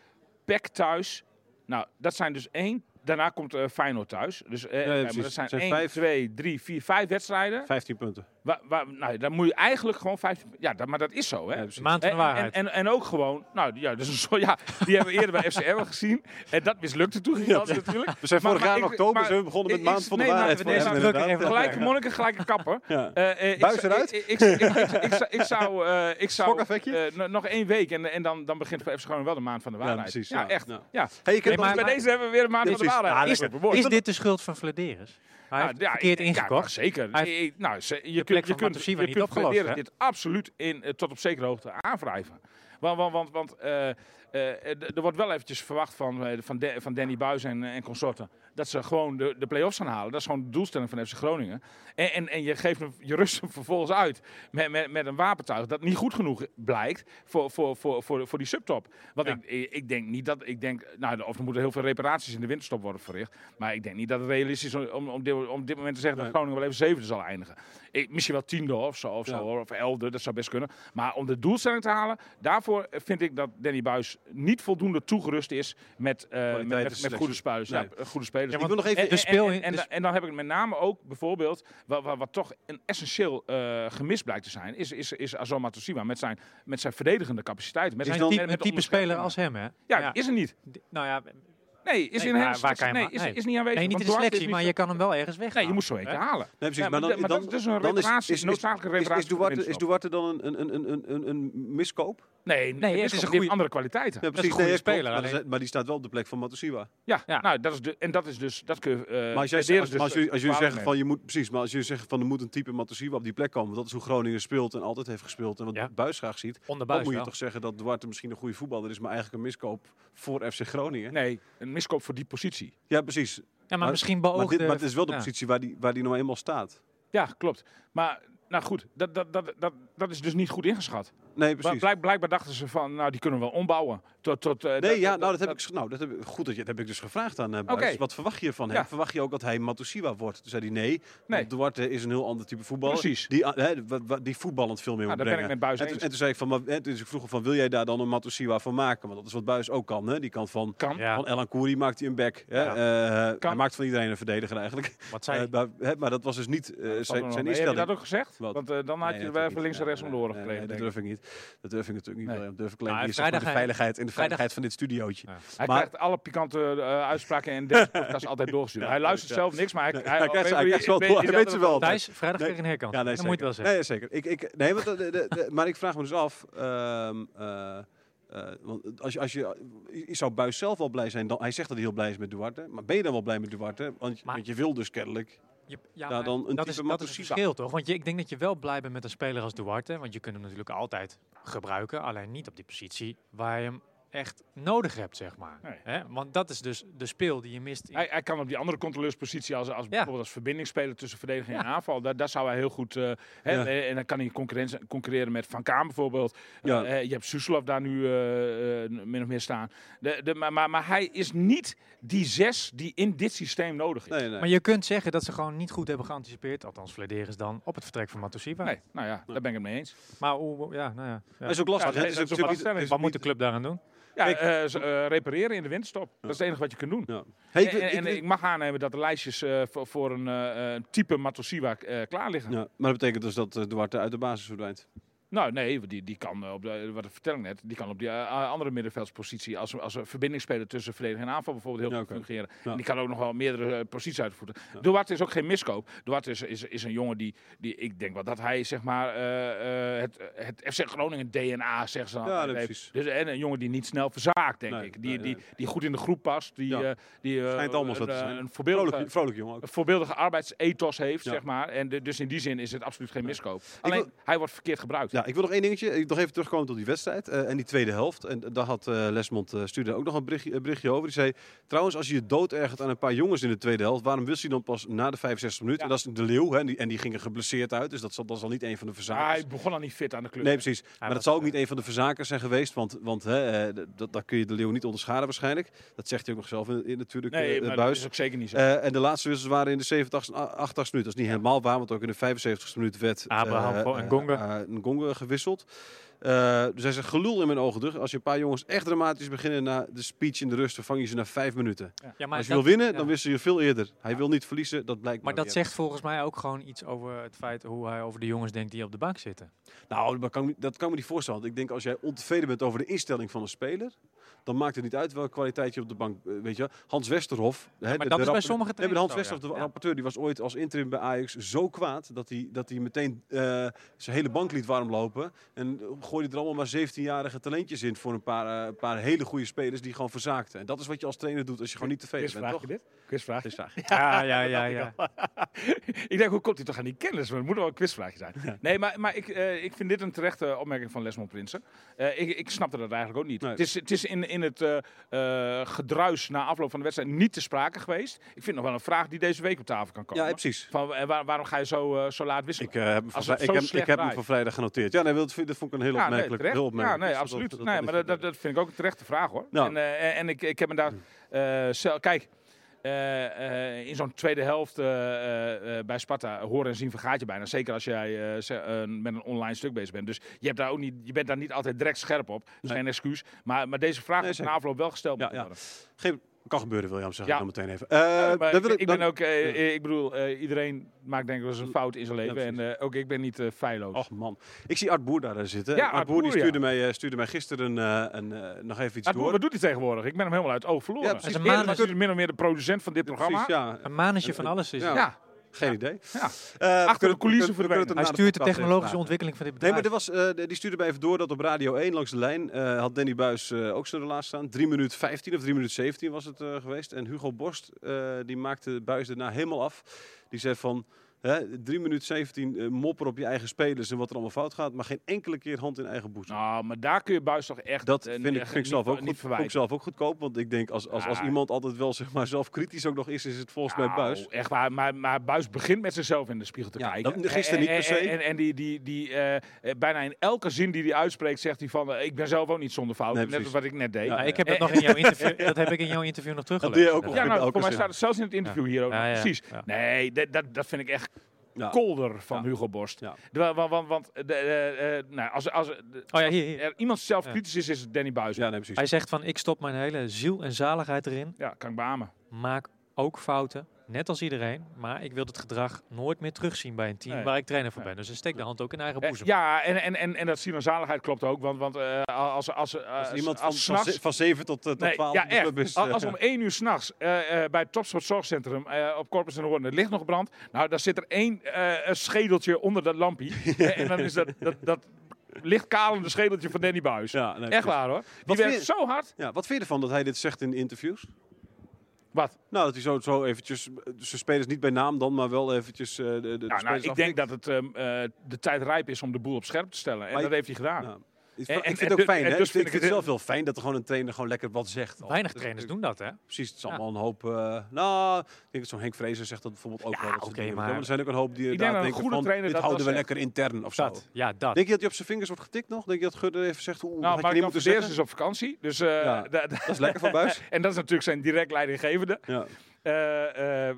[SPEAKER 3] PEC thuis. Nou, dat zijn dus één. Daarna komt eh, Feyenoord thuis. Dus eh, maar
[SPEAKER 2] precies.
[SPEAKER 3] dat
[SPEAKER 2] Het zijn
[SPEAKER 3] zijn één,
[SPEAKER 2] vijf-
[SPEAKER 3] twee, drie, vier, vijf wedstrijden.
[SPEAKER 2] 15 punten.
[SPEAKER 3] Waar, waar, nou, dan moet je eigenlijk gewoon vijf... Ja, dat, maar dat is zo, hè?
[SPEAKER 2] Ja, dus
[SPEAKER 4] De
[SPEAKER 2] precies.
[SPEAKER 4] maand van de
[SPEAKER 3] En-
[SPEAKER 4] waarheid.
[SPEAKER 3] En, en, en ook gewoon, nou ja, dus een soort, ja, die hebben we eerder bij FCM gezien. En dat mislukte toen niet altijd natuurlijk.
[SPEAKER 2] We zijn
[SPEAKER 3] Maar-
[SPEAKER 2] vorig
[SPEAKER 3] maar
[SPEAKER 2] jaar in
[SPEAKER 3] ik-
[SPEAKER 2] oktober
[SPEAKER 3] maar
[SPEAKER 2] zijn we begonnen met
[SPEAKER 3] ik-
[SPEAKER 2] maand
[SPEAKER 3] ik-
[SPEAKER 2] van de
[SPEAKER 3] nee, maar
[SPEAKER 2] waarheid.
[SPEAKER 3] we
[SPEAKER 2] voor
[SPEAKER 3] deze
[SPEAKER 2] hem,
[SPEAKER 4] drukker
[SPEAKER 2] inderdaad.
[SPEAKER 4] even-
[SPEAKER 3] Gelijke monniken, gelijke kapper.
[SPEAKER 2] Ja.
[SPEAKER 3] Eh, eh, ik
[SPEAKER 2] Buis
[SPEAKER 3] zou-
[SPEAKER 2] eruit?
[SPEAKER 3] Ik, ik, ik, ik, ik zou- ik zou, eh, ik zou
[SPEAKER 2] Schokeffectje?
[SPEAKER 3] eh, no- nog één week en, en dan, dan begint voor FC Groningen wel de maand van de
[SPEAKER 2] Ja,
[SPEAKER 3] waarheid.
[SPEAKER 2] precies, ja.
[SPEAKER 3] echt.
[SPEAKER 2] Ja.
[SPEAKER 3] Ja. dus
[SPEAKER 2] Hey, ik heb
[SPEAKER 4] Nee,
[SPEAKER 2] nog-
[SPEAKER 4] maar-
[SPEAKER 3] Bij deze hebben we weer de maand van de
[SPEAKER 2] Precies. Ja,
[SPEAKER 3] waarheid.
[SPEAKER 2] lekker.
[SPEAKER 3] Mooi.
[SPEAKER 4] Is dit de schuld van Vladeris? Hij
[SPEAKER 3] Nou,
[SPEAKER 4] heeft
[SPEAKER 3] ja,
[SPEAKER 4] verkeerd
[SPEAKER 3] ik-
[SPEAKER 4] ingekocht.
[SPEAKER 3] Ja, zeker.
[SPEAKER 4] Hij
[SPEAKER 3] Ik- nou, ze- je
[SPEAKER 4] plek
[SPEAKER 3] kunt, je
[SPEAKER 4] van
[SPEAKER 3] kunt,
[SPEAKER 4] Matosiwa
[SPEAKER 3] je
[SPEAKER 4] niet
[SPEAKER 3] kunt
[SPEAKER 4] opgelost,
[SPEAKER 3] Federer
[SPEAKER 4] hè?
[SPEAKER 3] dit absoluut in, eh, tot op zekere hoogte aanwrijven. Want, want, want, want eh, eh, d- er wordt wel eventjes verwacht van, eh, van, Da- van Danny Buis en, eh, en consorten dat ze gewoon de, de play-offs gaan halen. Dat is gewoon de doelstelling van FC Groningen. En, en, en je, geeft hem, je rust hem vervolgens uit met, met, met een wapentuig dat niet goed genoeg blijkt voor, voor, voor, voor, voor die subtop. Want
[SPEAKER 4] Ja.
[SPEAKER 3] ik, ik denk niet dat... Ik denk, nou, of er moeten heel veel reparaties in de winterstop worden verricht. Maar ik denk niet dat het realistisch is om, om, dit, om dit moment te zeggen
[SPEAKER 2] Nee.
[SPEAKER 3] dat Groningen wel even zevende zal eindigen. Ik, misschien wel tiende of zo, of,
[SPEAKER 2] Ja.
[SPEAKER 3] zo, hoor, of elfde, dat zou best kunnen. Maar om de doelstelling te halen, daarvoor vind ik dat Danny Buis niet voldoende toegerust is met, eh, met,
[SPEAKER 2] Kwaliteit en
[SPEAKER 3] met, met
[SPEAKER 2] selectie.
[SPEAKER 3] goede, spelers, ja,
[SPEAKER 2] Nee.
[SPEAKER 3] eh, goede spelers.
[SPEAKER 2] ik wil nog even...
[SPEAKER 3] En,
[SPEAKER 4] de
[SPEAKER 3] en-
[SPEAKER 4] speel-
[SPEAKER 3] en, en,
[SPEAKER 2] dus-
[SPEAKER 4] de-
[SPEAKER 3] en dan heb ik met name ook bijvoorbeeld, wat, wat, wat toch een essentieel eh, gemis blijkt te zijn, is, is, is Azal Matosiwa met zijn, met zijn verdedigende capaciteit. Met
[SPEAKER 4] Met
[SPEAKER 3] zijn
[SPEAKER 4] een type, een
[SPEAKER 3] met- met
[SPEAKER 4] type
[SPEAKER 3] onderscheiding.
[SPEAKER 4] speler als hem, hè?
[SPEAKER 3] Ja, is er niet.
[SPEAKER 4] D- Nou ja,
[SPEAKER 3] Nee, is
[SPEAKER 4] Nee,
[SPEAKER 3] in de
[SPEAKER 4] waar-
[SPEAKER 3] hele
[SPEAKER 4] waar
[SPEAKER 3] selectie-
[SPEAKER 4] kan je
[SPEAKER 3] nee,
[SPEAKER 4] hem-
[SPEAKER 3] is,
[SPEAKER 4] nee.
[SPEAKER 3] is niet aanwezig.
[SPEAKER 4] nee, niet in de
[SPEAKER 3] Want Duarte is
[SPEAKER 4] selectie,
[SPEAKER 3] niet
[SPEAKER 4] maar je kan hem wel ergens weg.
[SPEAKER 3] Nee, je moet zo eentje
[SPEAKER 4] hè?
[SPEAKER 3] halen.
[SPEAKER 2] Nee, precies.
[SPEAKER 3] Ja,
[SPEAKER 2] maar
[SPEAKER 3] maar
[SPEAKER 2] dan,
[SPEAKER 3] dat- maar
[SPEAKER 2] dan,
[SPEAKER 3] dat is dus een reparatie, een noodzakelijke
[SPEAKER 2] Is,
[SPEAKER 3] reparatie
[SPEAKER 2] is,
[SPEAKER 3] voor de
[SPEAKER 2] Duarte, is
[SPEAKER 3] winterstop.
[SPEAKER 2] Duarte dan een, een, een, een, een, een miskoop?
[SPEAKER 3] Nee,
[SPEAKER 4] het is
[SPEAKER 3] dit
[SPEAKER 4] een
[SPEAKER 3] die
[SPEAKER 4] goeie-
[SPEAKER 3] heeft andere kwaliteiten.
[SPEAKER 2] Ja,
[SPEAKER 4] is een
[SPEAKER 2] precies.
[SPEAKER 4] goede
[SPEAKER 2] Nee,
[SPEAKER 4] speler,
[SPEAKER 2] klopt, maar,
[SPEAKER 4] alleen-
[SPEAKER 2] dat is- maar die staat wel op de plek van Matosiwa.
[SPEAKER 3] Ja,
[SPEAKER 4] Ja.
[SPEAKER 3] nou, dat is de, en dat is dus, dat kun je... eh,
[SPEAKER 2] Maar als, jij,
[SPEAKER 3] waarderen
[SPEAKER 2] als,
[SPEAKER 3] dus
[SPEAKER 2] als jullie, als jullie
[SPEAKER 3] kwalijk
[SPEAKER 2] zeggen
[SPEAKER 3] nemen.
[SPEAKER 2] van je moet precies, maar als jullie zeggen van er moet een type Matosiwa op die plek komen, want dat is hoe Groningen speelt en altijd heeft gespeeld en wat
[SPEAKER 4] Ja.
[SPEAKER 2] Buis graag ziet, dan
[SPEAKER 4] Onderbuis
[SPEAKER 2] moet je
[SPEAKER 4] wel.
[SPEAKER 2] toch zeggen dat Duarte misschien een goede voetballer is, maar eigenlijk een miskoop voor FC Groningen.
[SPEAKER 3] Nee, een miskoop voor die positie.
[SPEAKER 2] Ja, precies.
[SPEAKER 4] Ja, maar,
[SPEAKER 2] Maar-
[SPEAKER 4] misschien
[SPEAKER 2] Maar,
[SPEAKER 4] beoogde...
[SPEAKER 2] dit, maar het is wel de
[SPEAKER 4] ja.
[SPEAKER 2] positie waar die, waar die nou eenmaal staat.
[SPEAKER 3] Ja, klopt. Maar, nou goed, dat, dat, dat, dat, dat is dus niet goed ingeschat.
[SPEAKER 2] Nee,
[SPEAKER 3] Maar
[SPEAKER 2] precies.
[SPEAKER 3] blijk, blijkbaar dachten ze van, nou, die kunnen we wel ombouwen. Tot, tot, eh,
[SPEAKER 2] Nee,
[SPEAKER 3] dat-
[SPEAKER 2] ja,
[SPEAKER 3] dat-
[SPEAKER 2] nou, dat heb
[SPEAKER 3] dat-
[SPEAKER 2] ik, s- nou, dat heb, ik- goed dat je, dat heb ik dus gevraagd aan eh Buijs.
[SPEAKER 3] Oké.
[SPEAKER 2] Wat verwacht je van hem?
[SPEAKER 3] Ja.
[SPEAKER 2] Verwacht je ook dat hij Matosiwa wordt? Toen zei hij nee,
[SPEAKER 3] Nee.
[SPEAKER 2] want Duarte is een heel ander type voetballer.
[SPEAKER 3] Precies.
[SPEAKER 2] Die, ah, hè, wa- wa- die voetballend veel meer
[SPEAKER 3] Nou,
[SPEAKER 2] moet
[SPEAKER 3] daar ben ik
[SPEAKER 2] brengen.
[SPEAKER 3] met Buijs
[SPEAKER 2] en, toen-
[SPEAKER 3] eens.
[SPEAKER 2] en toen zei ik van, maar, hè, toen is ik vroeg hem van, wil jij daar dan een Matosiwa van maken? Want dat is wat Buijs ook kan, hè? Die kan van...
[SPEAKER 3] Kan.
[SPEAKER 4] Ja,
[SPEAKER 2] Van Elan Koeri maakt hij een back. Hè?
[SPEAKER 4] Ja.
[SPEAKER 2] Eh, hij
[SPEAKER 3] Kan.
[SPEAKER 2] maakt van iedereen een verdediger eigenlijk.
[SPEAKER 4] wat zei
[SPEAKER 2] Eh, maar, hè, maar dat was dus niet eh,
[SPEAKER 3] dat valt
[SPEAKER 2] zijn,
[SPEAKER 3] nog
[SPEAKER 2] zijn
[SPEAKER 3] mee. Heb je
[SPEAKER 2] instelling.
[SPEAKER 3] dat ook gezegd?
[SPEAKER 2] Wat?
[SPEAKER 3] Want eh, dan had
[SPEAKER 2] Nee,
[SPEAKER 3] je er wel
[SPEAKER 2] natuurlijk
[SPEAKER 3] even
[SPEAKER 2] niet.
[SPEAKER 3] links en
[SPEAKER 2] Nee,
[SPEAKER 3] rechts om de
[SPEAKER 2] nee,
[SPEAKER 3] oren
[SPEAKER 2] nee,
[SPEAKER 3] gekregen.
[SPEAKER 2] nee, dat
[SPEAKER 3] denk ik.
[SPEAKER 2] durf ik niet. Dat durf ik natuurlijk niet.
[SPEAKER 3] Nee.
[SPEAKER 2] William. Dat durf ik alleen
[SPEAKER 4] Nou,
[SPEAKER 2] niet. Vrijdag,
[SPEAKER 4] vrijdag
[SPEAKER 2] de
[SPEAKER 4] hij-
[SPEAKER 2] veiligheid en de
[SPEAKER 4] vrijdag-
[SPEAKER 2] veiligheid van dit studiootje.
[SPEAKER 4] Ja.
[SPEAKER 3] Hij
[SPEAKER 2] Maar-
[SPEAKER 3] krijgt alle pikante eh, uitspraken en deze podcast altijd doorgestuurd. hij luistert zelf niks, maar hij, hij,
[SPEAKER 2] hij krijgt ze- hij krijgt ze wel
[SPEAKER 3] weet-
[SPEAKER 2] door,
[SPEAKER 3] is
[SPEAKER 2] hij weet
[SPEAKER 3] altijd-
[SPEAKER 2] ze wel.
[SPEAKER 4] Thijs, vrijdag
[SPEAKER 2] Nee.
[SPEAKER 4] tegen een herkant.
[SPEAKER 2] Ja, nee,
[SPEAKER 4] dat moet je wel
[SPEAKER 2] zeker.
[SPEAKER 4] zeggen.
[SPEAKER 2] Nee, zeker. Ik, ik, nee, want, de, de, de- maar ik vraag me dus af. ehm, eh, eh, want als je, als je, je zou Buis zelf wel blij zijn. Dan, hij zegt dat hij heel blij is met Duarte. Maar ben je dan wel blij met Duarte? Want,
[SPEAKER 4] Maar-
[SPEAKER 2] want je wil dus kennelijk.
[SPEAKER 4] Je- ja,
[SPEAKER 2] Ja,
[SPEAKER 4] maar
[SPEAKER 2] dan een
[SPEAKER 4] dat,
[SPEAKER 2] type
[SPEAKER 4] is, dat is het
[SPEAKER 2] Matosiwa.
[SPEAKER 4] verschil, toch? Want je, ik denk dat je wel blij bent met een speler als Duarte. Want je kunt hem natuurlijk altijd gebruiken. Alleen niet op die positie waar je hem echt nodig hebt, zeg maar.
[SPEAKER 3] Nee.
[SPEAKER 4] Hè? Want dat is dus de speel die je mist. in-
[SPEAKER 3] Hij, hij kan op die andere controleurspositie als, als bijvoorbeeld als verbindingsspeler tussen verdediging en aanval. Daar, daar zou hij heel goed. eh, hè,
[SPEAKER 2] Ja.
[SPEAKER 3] eh, En dan kan hij concurrentie- concurreren met Van Kaam bijvoorbeeld.
[SPEAKER 2] Ja.
[SPEAKER 3] Eh, eh, je hebt Suslov daar nu eh, eh, min of meer staan. De, de, maar, maar, maar hij is niet die zes die in dit systeem nodig is.
[SPEAKER 2] Nee, nee.
[SPEAKER 4] Maar je kunt zeggen dat ze gewoon niet goed hebben geanticipeerd. Althans, Vlederen is dan op het vertrek van Matosiva.
[SPEAKER 3] Nee, nou ja, daar ben ik het mee eens.
[SPEAKER 4] Maar hoe, ja, nou ja. ja.
[SPEAKER 2] Dat is ook lastig.
[SPEAKER 3] Ja,
[SPEAKER 2] hè? Het
[SPEAKER 3] dat
[SPEAKER 2] is
[SPEAKER 3] is een
[SPEAKER 2] natuurlijk niet-
[SPEAKER 3] vaststelling.
[SPEAKER 2] het is
[SPEAKER 4] Wat moet de
[SPEAKER 2] niet-
[SPEAKER 4] club daaraan doen?
[SPEAKER 3] Ja,
[SPEAKER 2] Ik-
[SPEAKER 3] eh, z- eh, repareren in de windstop. Dat is het enige wat je kunt doen.
[SPEAKER 2] Ja. Hey, ik-
[SPEAKER 3] en,
[SPEAKER 2] ik-
[SPEAKER 3] en ik mag aannemen dat de lijstjes eh, voor, voor een eh, eh, type Matosiwa eh, klaar liggen.
[SPEAKER 2] Ja, maar dat betekent dus dat eh, Duarte uit de basis verdwijnt.
[SPEAKER 3] Nou, nee, die, die kan eh, op de, wat ik vertel ik net, die kan op die eh, andere middenveldspositie als, als een verbindingsspeler tussen verdediging en aanval bijvoorbeeld heel
[SPEAKER 2] Ja,
[SPEAKER 3] goed
[SPEAKER 2] oké.
[SPEAKER 3] fungeren.
[SPEAKER 2] Ja.
[SPEAKER 3] En die kan ook nog wel meerdere eh, posities uitvoeren. Duarte is ook geen miskoop. Duarte is, is, is een jongen die, die, ik denk wel dat hij zeg maar eh, eh, het, het FC Groningen DNA zegt ze dan.
[SPEAKER 2] Ja,
[SPEAKER 3] altijd
[SPEAKER 2] nee,
[SPEAKER 3] heeft.
[SPEAKER 2] precies.
[SPEAKER 3] Dus en een jongen die niet snel verzaakt, denk
[SPEAKER 2] Nee,
[SPEAKER 3] ik. Die,
[SPEAKER 2] nee,
[SPEAKER 3] die,
[SPEAKER 2] nee.
[SPEAKER 3] die goed in de groep past. Die,
[SPEAKER 2] Ja.
[SPEAKER 3] eh, die eh,
[SPEAKER 2] Schijnt allemaal zo
[SPEAKER 3] een,
[SPEAKER 2] te zijn.
[SPEAKER 3] eh, een voorbeeldige,
[SPEAKER 2] Vrolijk, vrolijk jongen ook.
[SPEAKER 3] een voorbeeldige arbeidsethos heeft,
[SPEAKER 2] Ja.
[SPEAKER 3] zeg maar. En de- dus in die zin is het absoluut geen miskoop. Alleen,
[SPEAKER 2] wil-
[SPEAKER 3] hij wordt verkeerd gebruikt.
[SPEAKER 2] Ja, ik wil nog één dingetje. Ik nog even terugkomen tot die wedstrijd eh, en die tweede helft. En daar had eh, Lesmond eh, stuurde ook nog een berichtje, een berichtje over. Die zei, trouwens, als je je dood ergert aan een paar jongens in de tweede helft, waarom wist hij dan pas na de 65 minuten?
[SPEAKER 3] Ja.
[SPEAKER 2] En dat is de Leeuw, hè, en, die, en die ging er geblesseerd uit. Dus dat zal, dat zal niet een van de
[SPEAKER 3] Ah,
[SPEAKER 2] verzakers
[SPEAKER 3] hij begon al niet fit aan de club.
[SPEAKER 2] Nee, precies. maar dat
[SPEAKER 4] was,
[SPEAKER 2] zou ook
[SPEAKER 4] eh,
[SPEAKER 2] niet een van de verzakers zijn geweest. Want, want hè, eh, d- dat, daar kun je de Leeuw niet onderschaden waarschijnlijk. Dat zegt hij ook nog zelf in, in natuurlijk, eh,
[SPEAKER 3] nee
[SPEAKER 2] eh,
[SPEAKER 3] maar dat
[SPEAKER 2] Buis.
[SPEAKER 3] is ook zeker niet zo.
[SPEAKER 2] Eh, en de laatste wissels waren in de 70 en 80 minuut. Dat is niet helemaal waar, want ook in de 75ste minuut werd
[SPEAKER 4] Abraham
[SPEAKER 2] eh,
[SPEAKER 4] voor
[SPEAKER 2] eh,
[SPEAKER 4] Ngonga.
[SPEAKER 2] eh, Ngonga gewisseld. Eh, dus hij zegt gelul in mijn ogen. Dus als je een paar jongens echt dramatisch beginnen na de speech in de rust, vervang je ze na vijf minuten.
[SPEAKER 4] Ja, maar
[SPEAKER 2] als je
[SPEAKER 4] dat-
[SPEAKER 2] wil winnen,
[SPEAKER 4] ja.
[SPEAKER 2] dan wissel je veel eerder. Hij wil niet verliezen, dat blijkt.
[SPEAKER 4] Maar
[SPEAKER 2] nou
[SPEAKER 4] dat
[SPEAKER 2] weer.
[SPEAKER 4] zegt volgens mij ook gewoon iets over het feit hoe hij over de jongens denkt die op de bank zitten.
[SPEAKER 2] Nou, dat kan, ik me- dat kan ik me niet voorstellen. Want ik denk als jij ontevreden bent over de instelling van een speler, dan maakt het niet uit welke kwaliteit je op de bank. eh, Weet je, wel. Hans Westerhof. hè,
[SPEAKER 4] maar dat is bij sommige
[SPEAKER 2] Nee, maar Hans
[SPEAKER 4] trainers zo,
[SPEAKER 2] Westerhof, de
[SPEAKER 4] ja.
[SPEAKER 2] rapporteur, die was ooit als interim bij Ajax zo kwaad dat hij, dat hij meteen eh, zijn hele bank liet warm lopen. En gooide er allemaal maar 17-jarige talentjes in voor een paar, eh, een paar hele goede spelers die gewoon verzaakten. En dat is wat je als trainer doet als je gewoon niet tevreden bent, toch?
[SPEAKER 3] dit? Quizvraag.
[SPEAKER 2] Dat is vraag.
[SPEAKER 4] Ja, ja, ja, ja.
[SPEAKER 3] ik denk, hoe komt hij toch aan die kennis? Maar het moet wel een quizvraagje zijn. Nee, maar, maar ik, eh, ik vind dit een terechte opmerking van Lesmond Prinsen. Eh, ik, ik snapte dat eigenlijk ook niet.
[SPEAKER 2] Nee.
[SPEAKER 3] Het is, het is in, in het eh, eh, gedruis na afloop van de wedstrijd niet te sprake geweest. Ik vind het nog wel een vraag die deze week op tafel kan komen.
[SPEAKER 2] Ja, precies.
[SPEAKER 3] van, eh, waar- waarom ga je zo, eh, zo laat wisselen?
[SPEAKER 2] Ik, eh, heb hem van
[SPEAKER 3] Als het
[SPEAKER 2] vrij- ik,
[SPEAKER 3] zo
[SPEAKER 2] heb,
[SPEAKER 3] slecht
[SPEAKER 2] ik heb hem
[SPEAKER 3] draait.
[SPEAKER 2] van vrijdag genoteerd. Ja, nee, dat vind dat vond ik een heel
[SPEAKER 3] Ja, nee,
[SPEAKER 2] opmerkelijk.
[SPEAKER 3] terecht.
[SPEAKER 2] heel opmerkelijk.
[SPEAKER 3] Ja, nee,
[SPEAKER 2] Dus dat-
[SPEAKER 3] absoluut.
[SPEAKER 2] dat-
[SPEAKER 3] nee,
[SPEAKER 2] dat
[SPEAKER 3] maar
[SPEAKER 2] is-
[SPEAKER 3] dat, dat, dat vind ik ook een terechte vraag hoor.
[SPEAKER 2] Nou.
[SPEAKER 3] En, eh, en ik, ik heb me daar eh, zel- kijk, eh, eh, in zo'n tweede helft eh, eh, eh, bij Sparta horen en zien vergaat je bijna. Zeker als jij eh, ze- eh, met een online stuk bezig bent. Dus je, hebt daar ook niet, je bent daar niet altijd direct scherp op. Dus geen excuus. Maar, maar deze vraag
[SPEAKER 2] Nee,
[SPEAKER 3] is na
[SPEAKER 2] zeker.
[SPEAKER 3] afloop wel gesteld.
[SPEAKER 2] Ja,
[SPEAKER 3] moeten
[SPEAKER 2] ja.
[SPEAKER 3] worden.
[SPEAKER 2] Geen, kan gebeuren, William, zeg
[SPEAKER 3] Ja.
[SPEAKER 2] ik dan meteen even. Eh,
[SPEAKER 3] Maar
[SPEAKER 2] dan
[SPEAKER 3] ik,
[SPEAKER 2] wil ik,
[SPEAKER 3] ik
[SPEAKER 2] dan-
[SPEAKER 3] ben ook, eh, eh, ik bedoel, eh, iedereen maakt denk ik wel eens een fout in zijn leven. en
[SPEAKER 2] precies.
[SPEAKER 3] eh, ook ik ben niet eh feilloos.
[SPEAKER 2] Och man, ik zie Art Boer daar eh, zitten.
[SPEAKER 3] Ja,
[SPEAKER 2] Art,
[SPEAKER 3] Art
[SPEAKER 2] Boer die
[SPEAKER 3] Boer, ja.
[SPEAKER 2] stuurde, mij, eh, stuurde mij gisteren eh, een, eh, nog even iets
[SPEAKER 3] Maar
[SPEAKER 2] door.
[SPEAKER 3] wat doet hij tegenwoordig? Ik ben hem helemaal uit het oog verloren.
[SPEAKER 2] Ja,
[SPEAKER 3] Ja,
[SPEAKER 2] precies.
[SPEAKER 3] precies.
[SPEAKER 4] Het is een
[SPEAKER 3] Eerder was
[SPEAKER 2] maand-
[SPEAKER 3] hij min of meer de producent van dit programma.
[SPEAKER 2] Precies, ja.
[SPEAKER 4] Een manetje van alles is
[SPEAKER 2] Ja.
[SPEAKER 4] het.
[SPEAKER 3] Ja,
[SPEAKER 2] Geen idee.
[SPEAKER 3] ja.
[SPEAKER 2] Eh, we
[SPEAKER 3] Achter de
[SPEAKER 2] kunnen- we
[SPEAKER 3] coulissen
[SPEAKER 2] kunnen het
[SPEAKER 3] verdwenen.
[SPEAKER 2] hem na
[SPEAKER 4] Hij stuurt de
[SPEAKER 2] podcast even
[SPEAKER 4] technologische
[SPEAKER 2] vragen.
[SPEAKER 4] ontwikkeling van dit
[SPEAKER 2] Nee,
[SPEAKER 4] bedrijf.
[SPEAKER 2] maar dit was, eh, die stuurde mij even door dat op Radio 1 langs de lijn eh, had Danny Buis eh, ook zijn relaas staan. 3 minuut 15 of 3 minuut 17 was het eh, geweest. En Hugo Borst eh, die maakte Buis daarna helemaal af. Die zei van hè, 3 minuut 17 eh, mopper op je eigen spelers en wat er allemaal fout gaat. Maar geen enkele keer hand in eigen boezem.
[SPEAKER 3] Nou, maar daar kun je Buis toch echt
[SPEAKER 2] Dat
[SPEAKER 3] eh,
[SPEAKER 2] vind
[SPEAKER 3] niet-
[SPEAKER 2] ik, vind ik
[SPEAKER 3] niet
[SPEAKER 2] zelf
[SPEAKER 3] ver-
[SPEAKER 2] ook,
[SPEAKER 3] niet
[SPEAKER 2] goed, vond ik
[SPEAKER 3] verwijten.
[SPEAKER 2] zelf ook goedkoop. Want ik denk, als, als, als
[SPEAKER 3] Ja.
[SPEAKER 2] iemand altijd wel zeg maar, zelf kritisch ook nog is, is het volgens mij
[SPEAKER 3] Nou,
[SPEAKER 2] buis.
[SPEAKER 3] Echt waar, maar, maar Buis begint met zichzelf in de spiegel te
[SPEAKER 2] Ja,
[SPEAKER 3] kijken.
[SPEAKER 2] dat- gisteren niet per se.
[SPEAKER 3] En, en, en die, die, die, eh, eh, bijna in elke zin die hij uitspreekt, zegt hij van: eh, Ik ben zelf ook niet zonder fout.
[SPEAKER 2] Nee,
[SPEAKER 3] net
[SPEAKER 2] precies.
[SPEAKER 3] als wat ik net
[SPEAKER 2] Ja,
[SPEAKER 3] deed. Ja,
[SPEAKER 4] Maar Nou, ik heb dat
[SPEAKER 3] Eh,
[SPEAKER 4] nog in jouw interview, dat heb ik in jouw interview nog teruggelezen.
[SPEAKER 2] doe je ook nog.
[SPEAKER 3] nou,
[SPEAKER 2] elke
[SPEAKER 3] voor mij
[SPEAKER 2] zin.
[SPEAKER 3] staat het zelfs in het interview hier ook.
[SPEAKER 4] Ja, ja,
[SPEAKER 3] Precies.
[SPEAKER 4] ja.
[SPEAKER 3] Nee, dat, dat, dat vind ik echt
[SPEAKER 2] Ja.
[SPEAKER 3] kolder van
[SPEAKER 2] Ja.
[SPEAKER 3] Hugo Borst.
[SPEAKER 2] Ja.
[SPEAKER 3] Terwijl- Want, want, want eh, de, eh, eh, nou, als, als de-
[SPEAKER 4] Oh ja, hier, hier.
[SPEAKER 3] er Eh, iemand zelf kritisch is, is het Danny Buis. Ja.
[SPEAKER 2] Ja, nee, precies.
[SPEAKER 4] Hij zegt van, ik stop mijn hele ziel en zaligheid erin.
[SPEAKER 3] kan ik beamen.
[SPEAKER 4] Maak ook fouten, net als iedereen. Maar ik wil het gedrag nooit meer terugzien bij een team
[SPEAKER 3] Nee.
[SPEAKER 4] waar ik trainer van
[SPEAKER 3] Nee.
[SPEAKER 4] ben. Dus hij steekt de hand ook in eigen
[SPEAKER 3] Eh,
[SPEAKER 4] boezem.
[SPEAKER 3] ja, en, en, en, en dat zien en zaligheid klopt ook. Want, want eh, als, als, eh,
[SPEAKER 2] Als
[SPEAKER 3] als
[SPEAKER 2] iemand van,
[SPEAKER 3] als
[SPEAKER 2] van,
[SPEAKER 3] s'nachts-
[SPEAKER 2] ze- van 7 tot, eh, tot
[SPEAKER 3] Nee,
[SPEAKER 2] 12
[SPEAKER 3] ja,
[SPEAKER 2] op de club
[SPEAKER 3] echt.
[SPEAKER 2] is.
[SPEAKER 3] Al-
[SPEAKER 2] eh,
[SPEAKER 3] als om 1 uur s'nachts eh eh bij het Topsport Zorgcentrum eh, op Corpus en Hoorn, er ligt nog brand. Nou, daar zit er één eh, een schedeltje onder dat lampje. Eh, en dan is dat, dat, dat lichtkalende schedeltje van Danny Buis.
[SPEAKER 2] ja, nee,
[SPEAKER 3] echt
[SPEAKER 2] precies.
[SPEAKER 3] waar hoor. Die
[SPEAKER 2] Wat
[SPEAKER 3] werkt
[SPEAKER 2] vind je-
[SPEAKER 3] zo hard.
[SPEAKER 2] Ja, wat vind je ervan dat hij dit zegt in interviews?
[SPEAKER 3] Wat?
[SPEAKER 2] Nou, dat hij zo, zo eventjes eh, zijn spelers niet bij naam dan, maar wel eventjes eh, de, de, de
[SPEAKER 3] Nou, nou,
[SPEAKER 2] spelers
[SPEAKER 3] ik denk dat het ehm, eh, de tijd rijp is om de boel op scherp te stellen. En
[SPEAKER 2] Maar
[SPEAKER 3] dat
[SPEAKER 2] je-
[SPEAKER 3] heeft hij gedaan.
[SPEAKER 2] Ja. Ik
[SPEAKER 3] En-
[SPEAKER 2] vind
[SPEAKER 3] en-
[SPEAKER 2] het
[SPEAKER 3] en
[SPEAKER 2] ook
[SPEAKER 3] dus-
[SPEAKER 2] fijn,
[SPEAKER 3] en
[SPEAKER 2] hè?
[SPEAKER 3] dus
[SPEAKER 2] ik
[SPEAKER 3] vind
[SPEAKER 2] vind
[SPEAKER 3] ik
[SPEAKER 2] het
[SPEAKER 3] het-
[SPEAKER 2] zelf wel fijn dat er gewoon een trainer gewoon lekker wat zegt.
[SPEAKER 4] Weinig
[SPEAKER 2] Dat-
[SPEAKER 4] trainers
[SPEAKER 2] dat-
[SPEAKER 4] doen dat, hè?
[SPEAKER 2] Precies, het is
[SPEAKER 4] Ja.
[SPEAKER 2] allemaal een hoop. eh, nou, ik denk dat zo'n Henk Vrezer zegt dat bijvoorbeeld ook
[SPEAKER 4] Ja,
[SPEAKER 2] wel. dat soort
[SPEAKER 4] oké,
[SPEAKER 2] dingen.
[SPEAKER 4] maar-
[SPEAKER 2] Ja, er zijn ook een hoop die
[SPEAKER 3] denk
[SPEAKER 2] inderdaad
[SPEAKER 3] dat een
[SPEAKER 2] denken
[SPEAKER 3] goede
[SPEAKER 2] van,
[SPEAKER 3] trainer
[SPEAKER 2] dit
[SPEAKER 3] dat
[SPEAKER 2] houden we
[SPEAKER 3] wel
[SPEAKER 2] lekker intern of zo.
[SPEAKER 4] Dat. Ja, dat.
[SPEAKER 2] Denk je dat hij op zijn vingers wordt getikt nog? Denk je dat Gudde even zegt, oeh,
[SPEAKER 3] Nou,
[SPEAKER 2] dat had
[SPEAKER 3] Mark
[SPEAKER 2] je niet moeten
[SPEAKER 3] Adverdeers
[SPEAKER 2] zeggen?
[SPEAKER 3] is op vakantie. Dus, eh,
[SPEAKER 2] Ja.
[SPEAKER 3] da- da-
[SPEAKER 2] Dat is lekker van buis.
[SPEAKER 3] en dat is natuurlijk zijn direct leidinggevende.
[SPEAKER 2] Ja.
[SPEAKER 3] Eh, eh,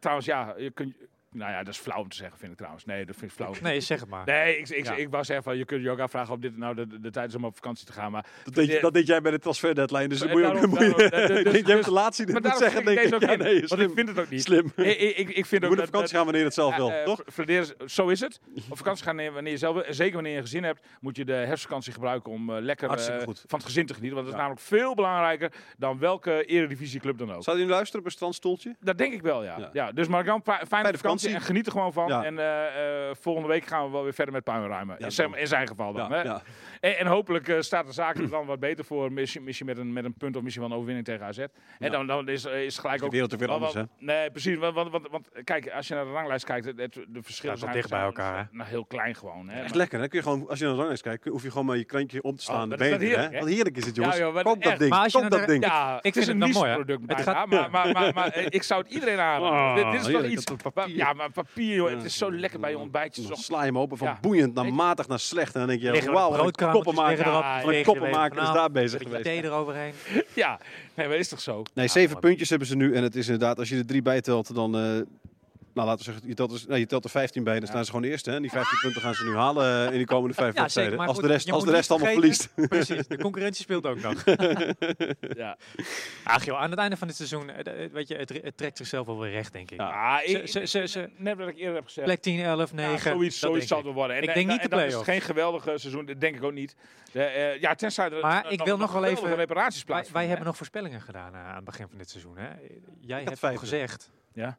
[SPEAKER 3] trouwens, ja, je kunt, Nou ja, dat is flauw om te zeggen, vind ik trouwens. Nee, dat vind ik flauw.
[SPEAKER 4] Nee, zeg het maar.
[SPEAKER 3] Nee, ik, ik,
[SPEAKER 4] Ja.
[SPEAKER 3] ik wou zeggen van, je kunt je ook afvragen of dit nou de, de tijd is om op vakantie te gaan. Maar
[SPEAKER 2] Dat deed, je-
[SPEAKER 3] Ja.
[SPEAKER 2] dat deed jij bij de transfer deadline, dus
[SPEAKER 3] Eh,
[SPEAKER 2] dan moet je ook...
[SPEAKER 3] daarom-
[SPEAKER 2] moet je-
[SPEAKER 3] daarom- eh,
[SPEAKER 2] ik
[SPEAKER 3] dus-
[SPEAKER 2] denk, jij hebt
[SPEAKER 3] dus-
[SPEAKER 2] de laatste die
[SPEAKER 3] maar
[SPEAKER 2] dat moet
[SPEAKER 3] daarom
[SPEAKER 2] zeggen, denk
[SPEAKER 3] ging ik
[SPEAKER 2] ik.
[SPEAKER 3] deze ook
[SPEAKER 2] Ja,
[SPEAKER 3] in,
[SPEAKER 2] nee, is
[SPEAKER 3] want ik
[SPEAKER 2] slim.
[SPEAKER 3] vind het ook niet.
[SPEAKER 2] Slim.
[SPEAKER 3] Ik, ik, ik- ik vind
[SPEAKER 2] Je
[SPEAKER 3] ook
[SPEAKER 2] moet op
[SPEAKER 3] dat-
[SPEAKER 2] vakantie
[SPEAKER 3] dat-
[SPEAKER 2] gaan wanneer je het zelf
[SPEAKER 3] eh,
[SPEAKER 2] wil,
[SPEAKER 3] eh,
[SPEAKER 2] toch?
[SPEAKER 3] Fladeren, is- zo is het. Op vakantie gaan wanneer wanneer je zelf wil. En zeker wanneer je een gezin hebt, moet je de herfstvakantie gebruiken om eh, lekker
[SPEAKER 2] Hartstikke
[SPEAKER 3] eh,
[SPEAKER 2] goed.
[SPEAKER 3] van het gezin te genieten. Want dat is
[SPEAKER 2] Ja.
[SPEAKER 3] namelijk veel belangrijker dan welke eredivisieclub dan ook.
[SPEAKER 2] Zou je nu luisteren op een strandstoeltje?
[SPEAKER 3] Dat denk ik wel, ja.
[SPEAKER 2] Ja.
[SPEAKER 3] ja. dus Margan, fijne, vakantie.
[SPEAKER 2] vakantie.
[SPEAKER 3] en geniet er gewoon van.
[SPEAKER 2] Ja.
[SPEAKER 3] En eh, eh, volgende week gaan we wel weer verder met puinruimen.
[SPEAKER 2] Ja,
[SPEAKER 3] in, zijn, in zijn geval dan.
[SPEAKER 2] Ja,
[SPEAKER 3] hè?
[SPEAKER 2] ja.
[SPEAKER 3] En, en hopelijk eh, staat de zaak er dan wat beter voor. Misschien, misschien met, een, met een punt of misschien wel een overwinning tegen AZ. En
[SPEAKER 2] Ja.
[SPEAKER 3] dan, dan is, eh, is gelijk
[SPEAKER 2] De
[SPEAKER 3] ook...
[SPEAKER 2] wereld ook weer
[SPEAKER 3] wel- wel-
[SPEAKER 2] anders,
[SPEAKER 3] Nee, precies. Want, want, want, want kijk, als je naar de ranglijst kijkt, het, het- de verschillen
[SPEAKER 4] Staat wel dicht bij elkaar,
[SPEAKER 3] zijn- Nou, heel klein gewoon. Hè?
[SPEAKER 2] Echt
[SPEAKER 3] Maar-
[SPEAKER 2] lekker, hè? Kun je gewoon, als je naar de ranglijst kijkt, kun- hoef je gewoon maar je krantje om te slaan.
[SPEAKER 3] Oh, dat
[SPEAKER 2] ben je
[SPEAKER 3] is wel
[SPEAKER 2] er, hè?
[SPEAKER 3] heerlijk, hè?
[SPEAKER 2] Wat heerlijk is het,
[SPEAKER 3] Ja,
[SPEAKER 2] jongens.
[SPEAKER 3] joh, wat
[SPEAKER 2] koop dat
[SPEAKER 3] erg.
[SPEAKER 2] ding,
[SPEAKER 4] Maar als je
[SPEAKER 2] koop
[SPEAKER 4] naar
[SPEAKER 2] dat
[SPEAKER 4] de-
[SPEAKER 2] ding.
[SPEAKER 3] Ja, ik
[SPEAKER 4] vind het
[SPEAKER 3] vind het
[SPEAKER 4] dan
[SPEAKER 3] een
[SPEAKER 4] mooi, hè? Oh,
[SPEAKER 3] product
[SPEAKER 4] Het
[SPEAKER 3] bijna,
[SPEAKER 4] gaat-
[SPEAKER 3] maar, maar, maar, maar eh, ik zou het iedereen aanraden.
[SPEAKER 2] Ah,
[SPEAKER 3] dit, dit is toch
[SPEAKER 2] heerlijk,
[SPEAKER 3] iets...
[SPEAKER 2] dat papier.
[SPEAKER 3] Ja, maar papier, joh,
[SPEAKER 2] Ja.
[SPEAKER 3] het is zo lekker bij je ontbijtje.
[SPEAKER 2] Dan
[SPEAKER 3] zo'n
[SPEAKER 2] sla je hem open van
[SPEAKER 3] Ja.
[SPEAKER 2] boeiend naar
[SPEAKER 3] Ik-
[SPEAKER 2] matig naar slecht. En dan denk je,
[SPEAKER 4] Liggen we
[SPEAKER 2] wauw,
[SPEAKER 4] de
[SPEAKER 2] wat een
[SPEAKER 4] broodkramertjes
[SPEAKER 2] koppenmaker.
[SPEAKER 4] liggen erop,
[SPEAKER 3] Ja,
[SPEAKER 2] Wat een
[SPEAKER 4] liggen er
[SPEAKER 2] koppenmaker is
[SPEAKER 4] even
[SPEAKER 2] daar
[SPEAKER 4] af,
[SPEAKER 2] bezig
[SPEAKER 4] beetje
[SPEAKER 2] geweest.
[SPEAKER 4] thee eroverheen.
[SPEAKER 3] Ja, nee, maar is toch zo?
[SPEAKER 2] Nee,
[SPEAKER 4] Ja,
[SPEAKER 2] zeven
[SPEAKER 4] maar-
[SPEAKER 2] puntjes hebben ze nu. En het is inderdaad, als je er drie bij telt, dan... eh, nou, laten we zeggen, je telt, er, nee, je telt er 15 bij, dan staan ze gewoon de eerste. Hè? En die 15 punten gaan ze nu halen eh, in die komende vijf
[SPEAKER 4] Ja,
[SPEAKER 2] wedstrijden.
[SPEAKER 4] zeker. maar
[SPEAKER 2] als de
[SPEAKER 4] goed,
[SPEAKER 2] rest,
[SPEAKER 4] je
[SPEAKER 2] als de
[SPEAKER 4] moet
[SPEAKER 2] rest
[SPEAKER 4] niet
[SPEAKER 2] allemaal verliest.
[SPEAKER 4] vergeten- Precies, de concurrentie speelt ook nog.
[SPEAKER 3] Ja.
[SPEAKER 4] Ach joh, aan het einde van dit seizoen, eh, eh, weet je, het, re- het trekt zichzelf wel weer recht, denk ik.
[SPEAKER 3] Ah, ik,
[SPEAKER 4] Ze- ze- ze- ze-
[SPEAKER 3] net wat ik eerder heb gezegd.
[SPEAKER 4] Plek 10, 11, 9.
[SPEAKER 3] Ja, zoiets
[SPEAKER 4] dat
[SPEAKER 3] zoiets
[SPEAKER 4] denk
[SPEAKER 3] zal het worden. En,
[SPEAKER 4] Ik
[SPEAKER 3] en-
[SPEAKER 4] denk niet
[SPEAKER 3] en
[SPEAKER 4] de
[SPEAKER 3] dan is het
[SPEAKER 4] play-offs.
[SPEAKER 3] geen geweldig seizoen, dat denk ik ook niet. De, eh, ja, tenzij er
[SPEAKER 4] Maar ik wil nog wel
[SPEAKER 3] geweldige
[SPEAKER 4] even-
[SPEAKER 3] reparaties
[SPEAKER 4] Wij,
[SPEAKER 3] plaatsen.
[SPEAKER 4] wij hebben nog voorspellingen gedaan eh, aan het begin van dit seizoen. Hè? Jij hebt
[SPEAKER 2] vijfde.
[SPEAKER 4] gezegd.
[SPEAKER 3] Ja.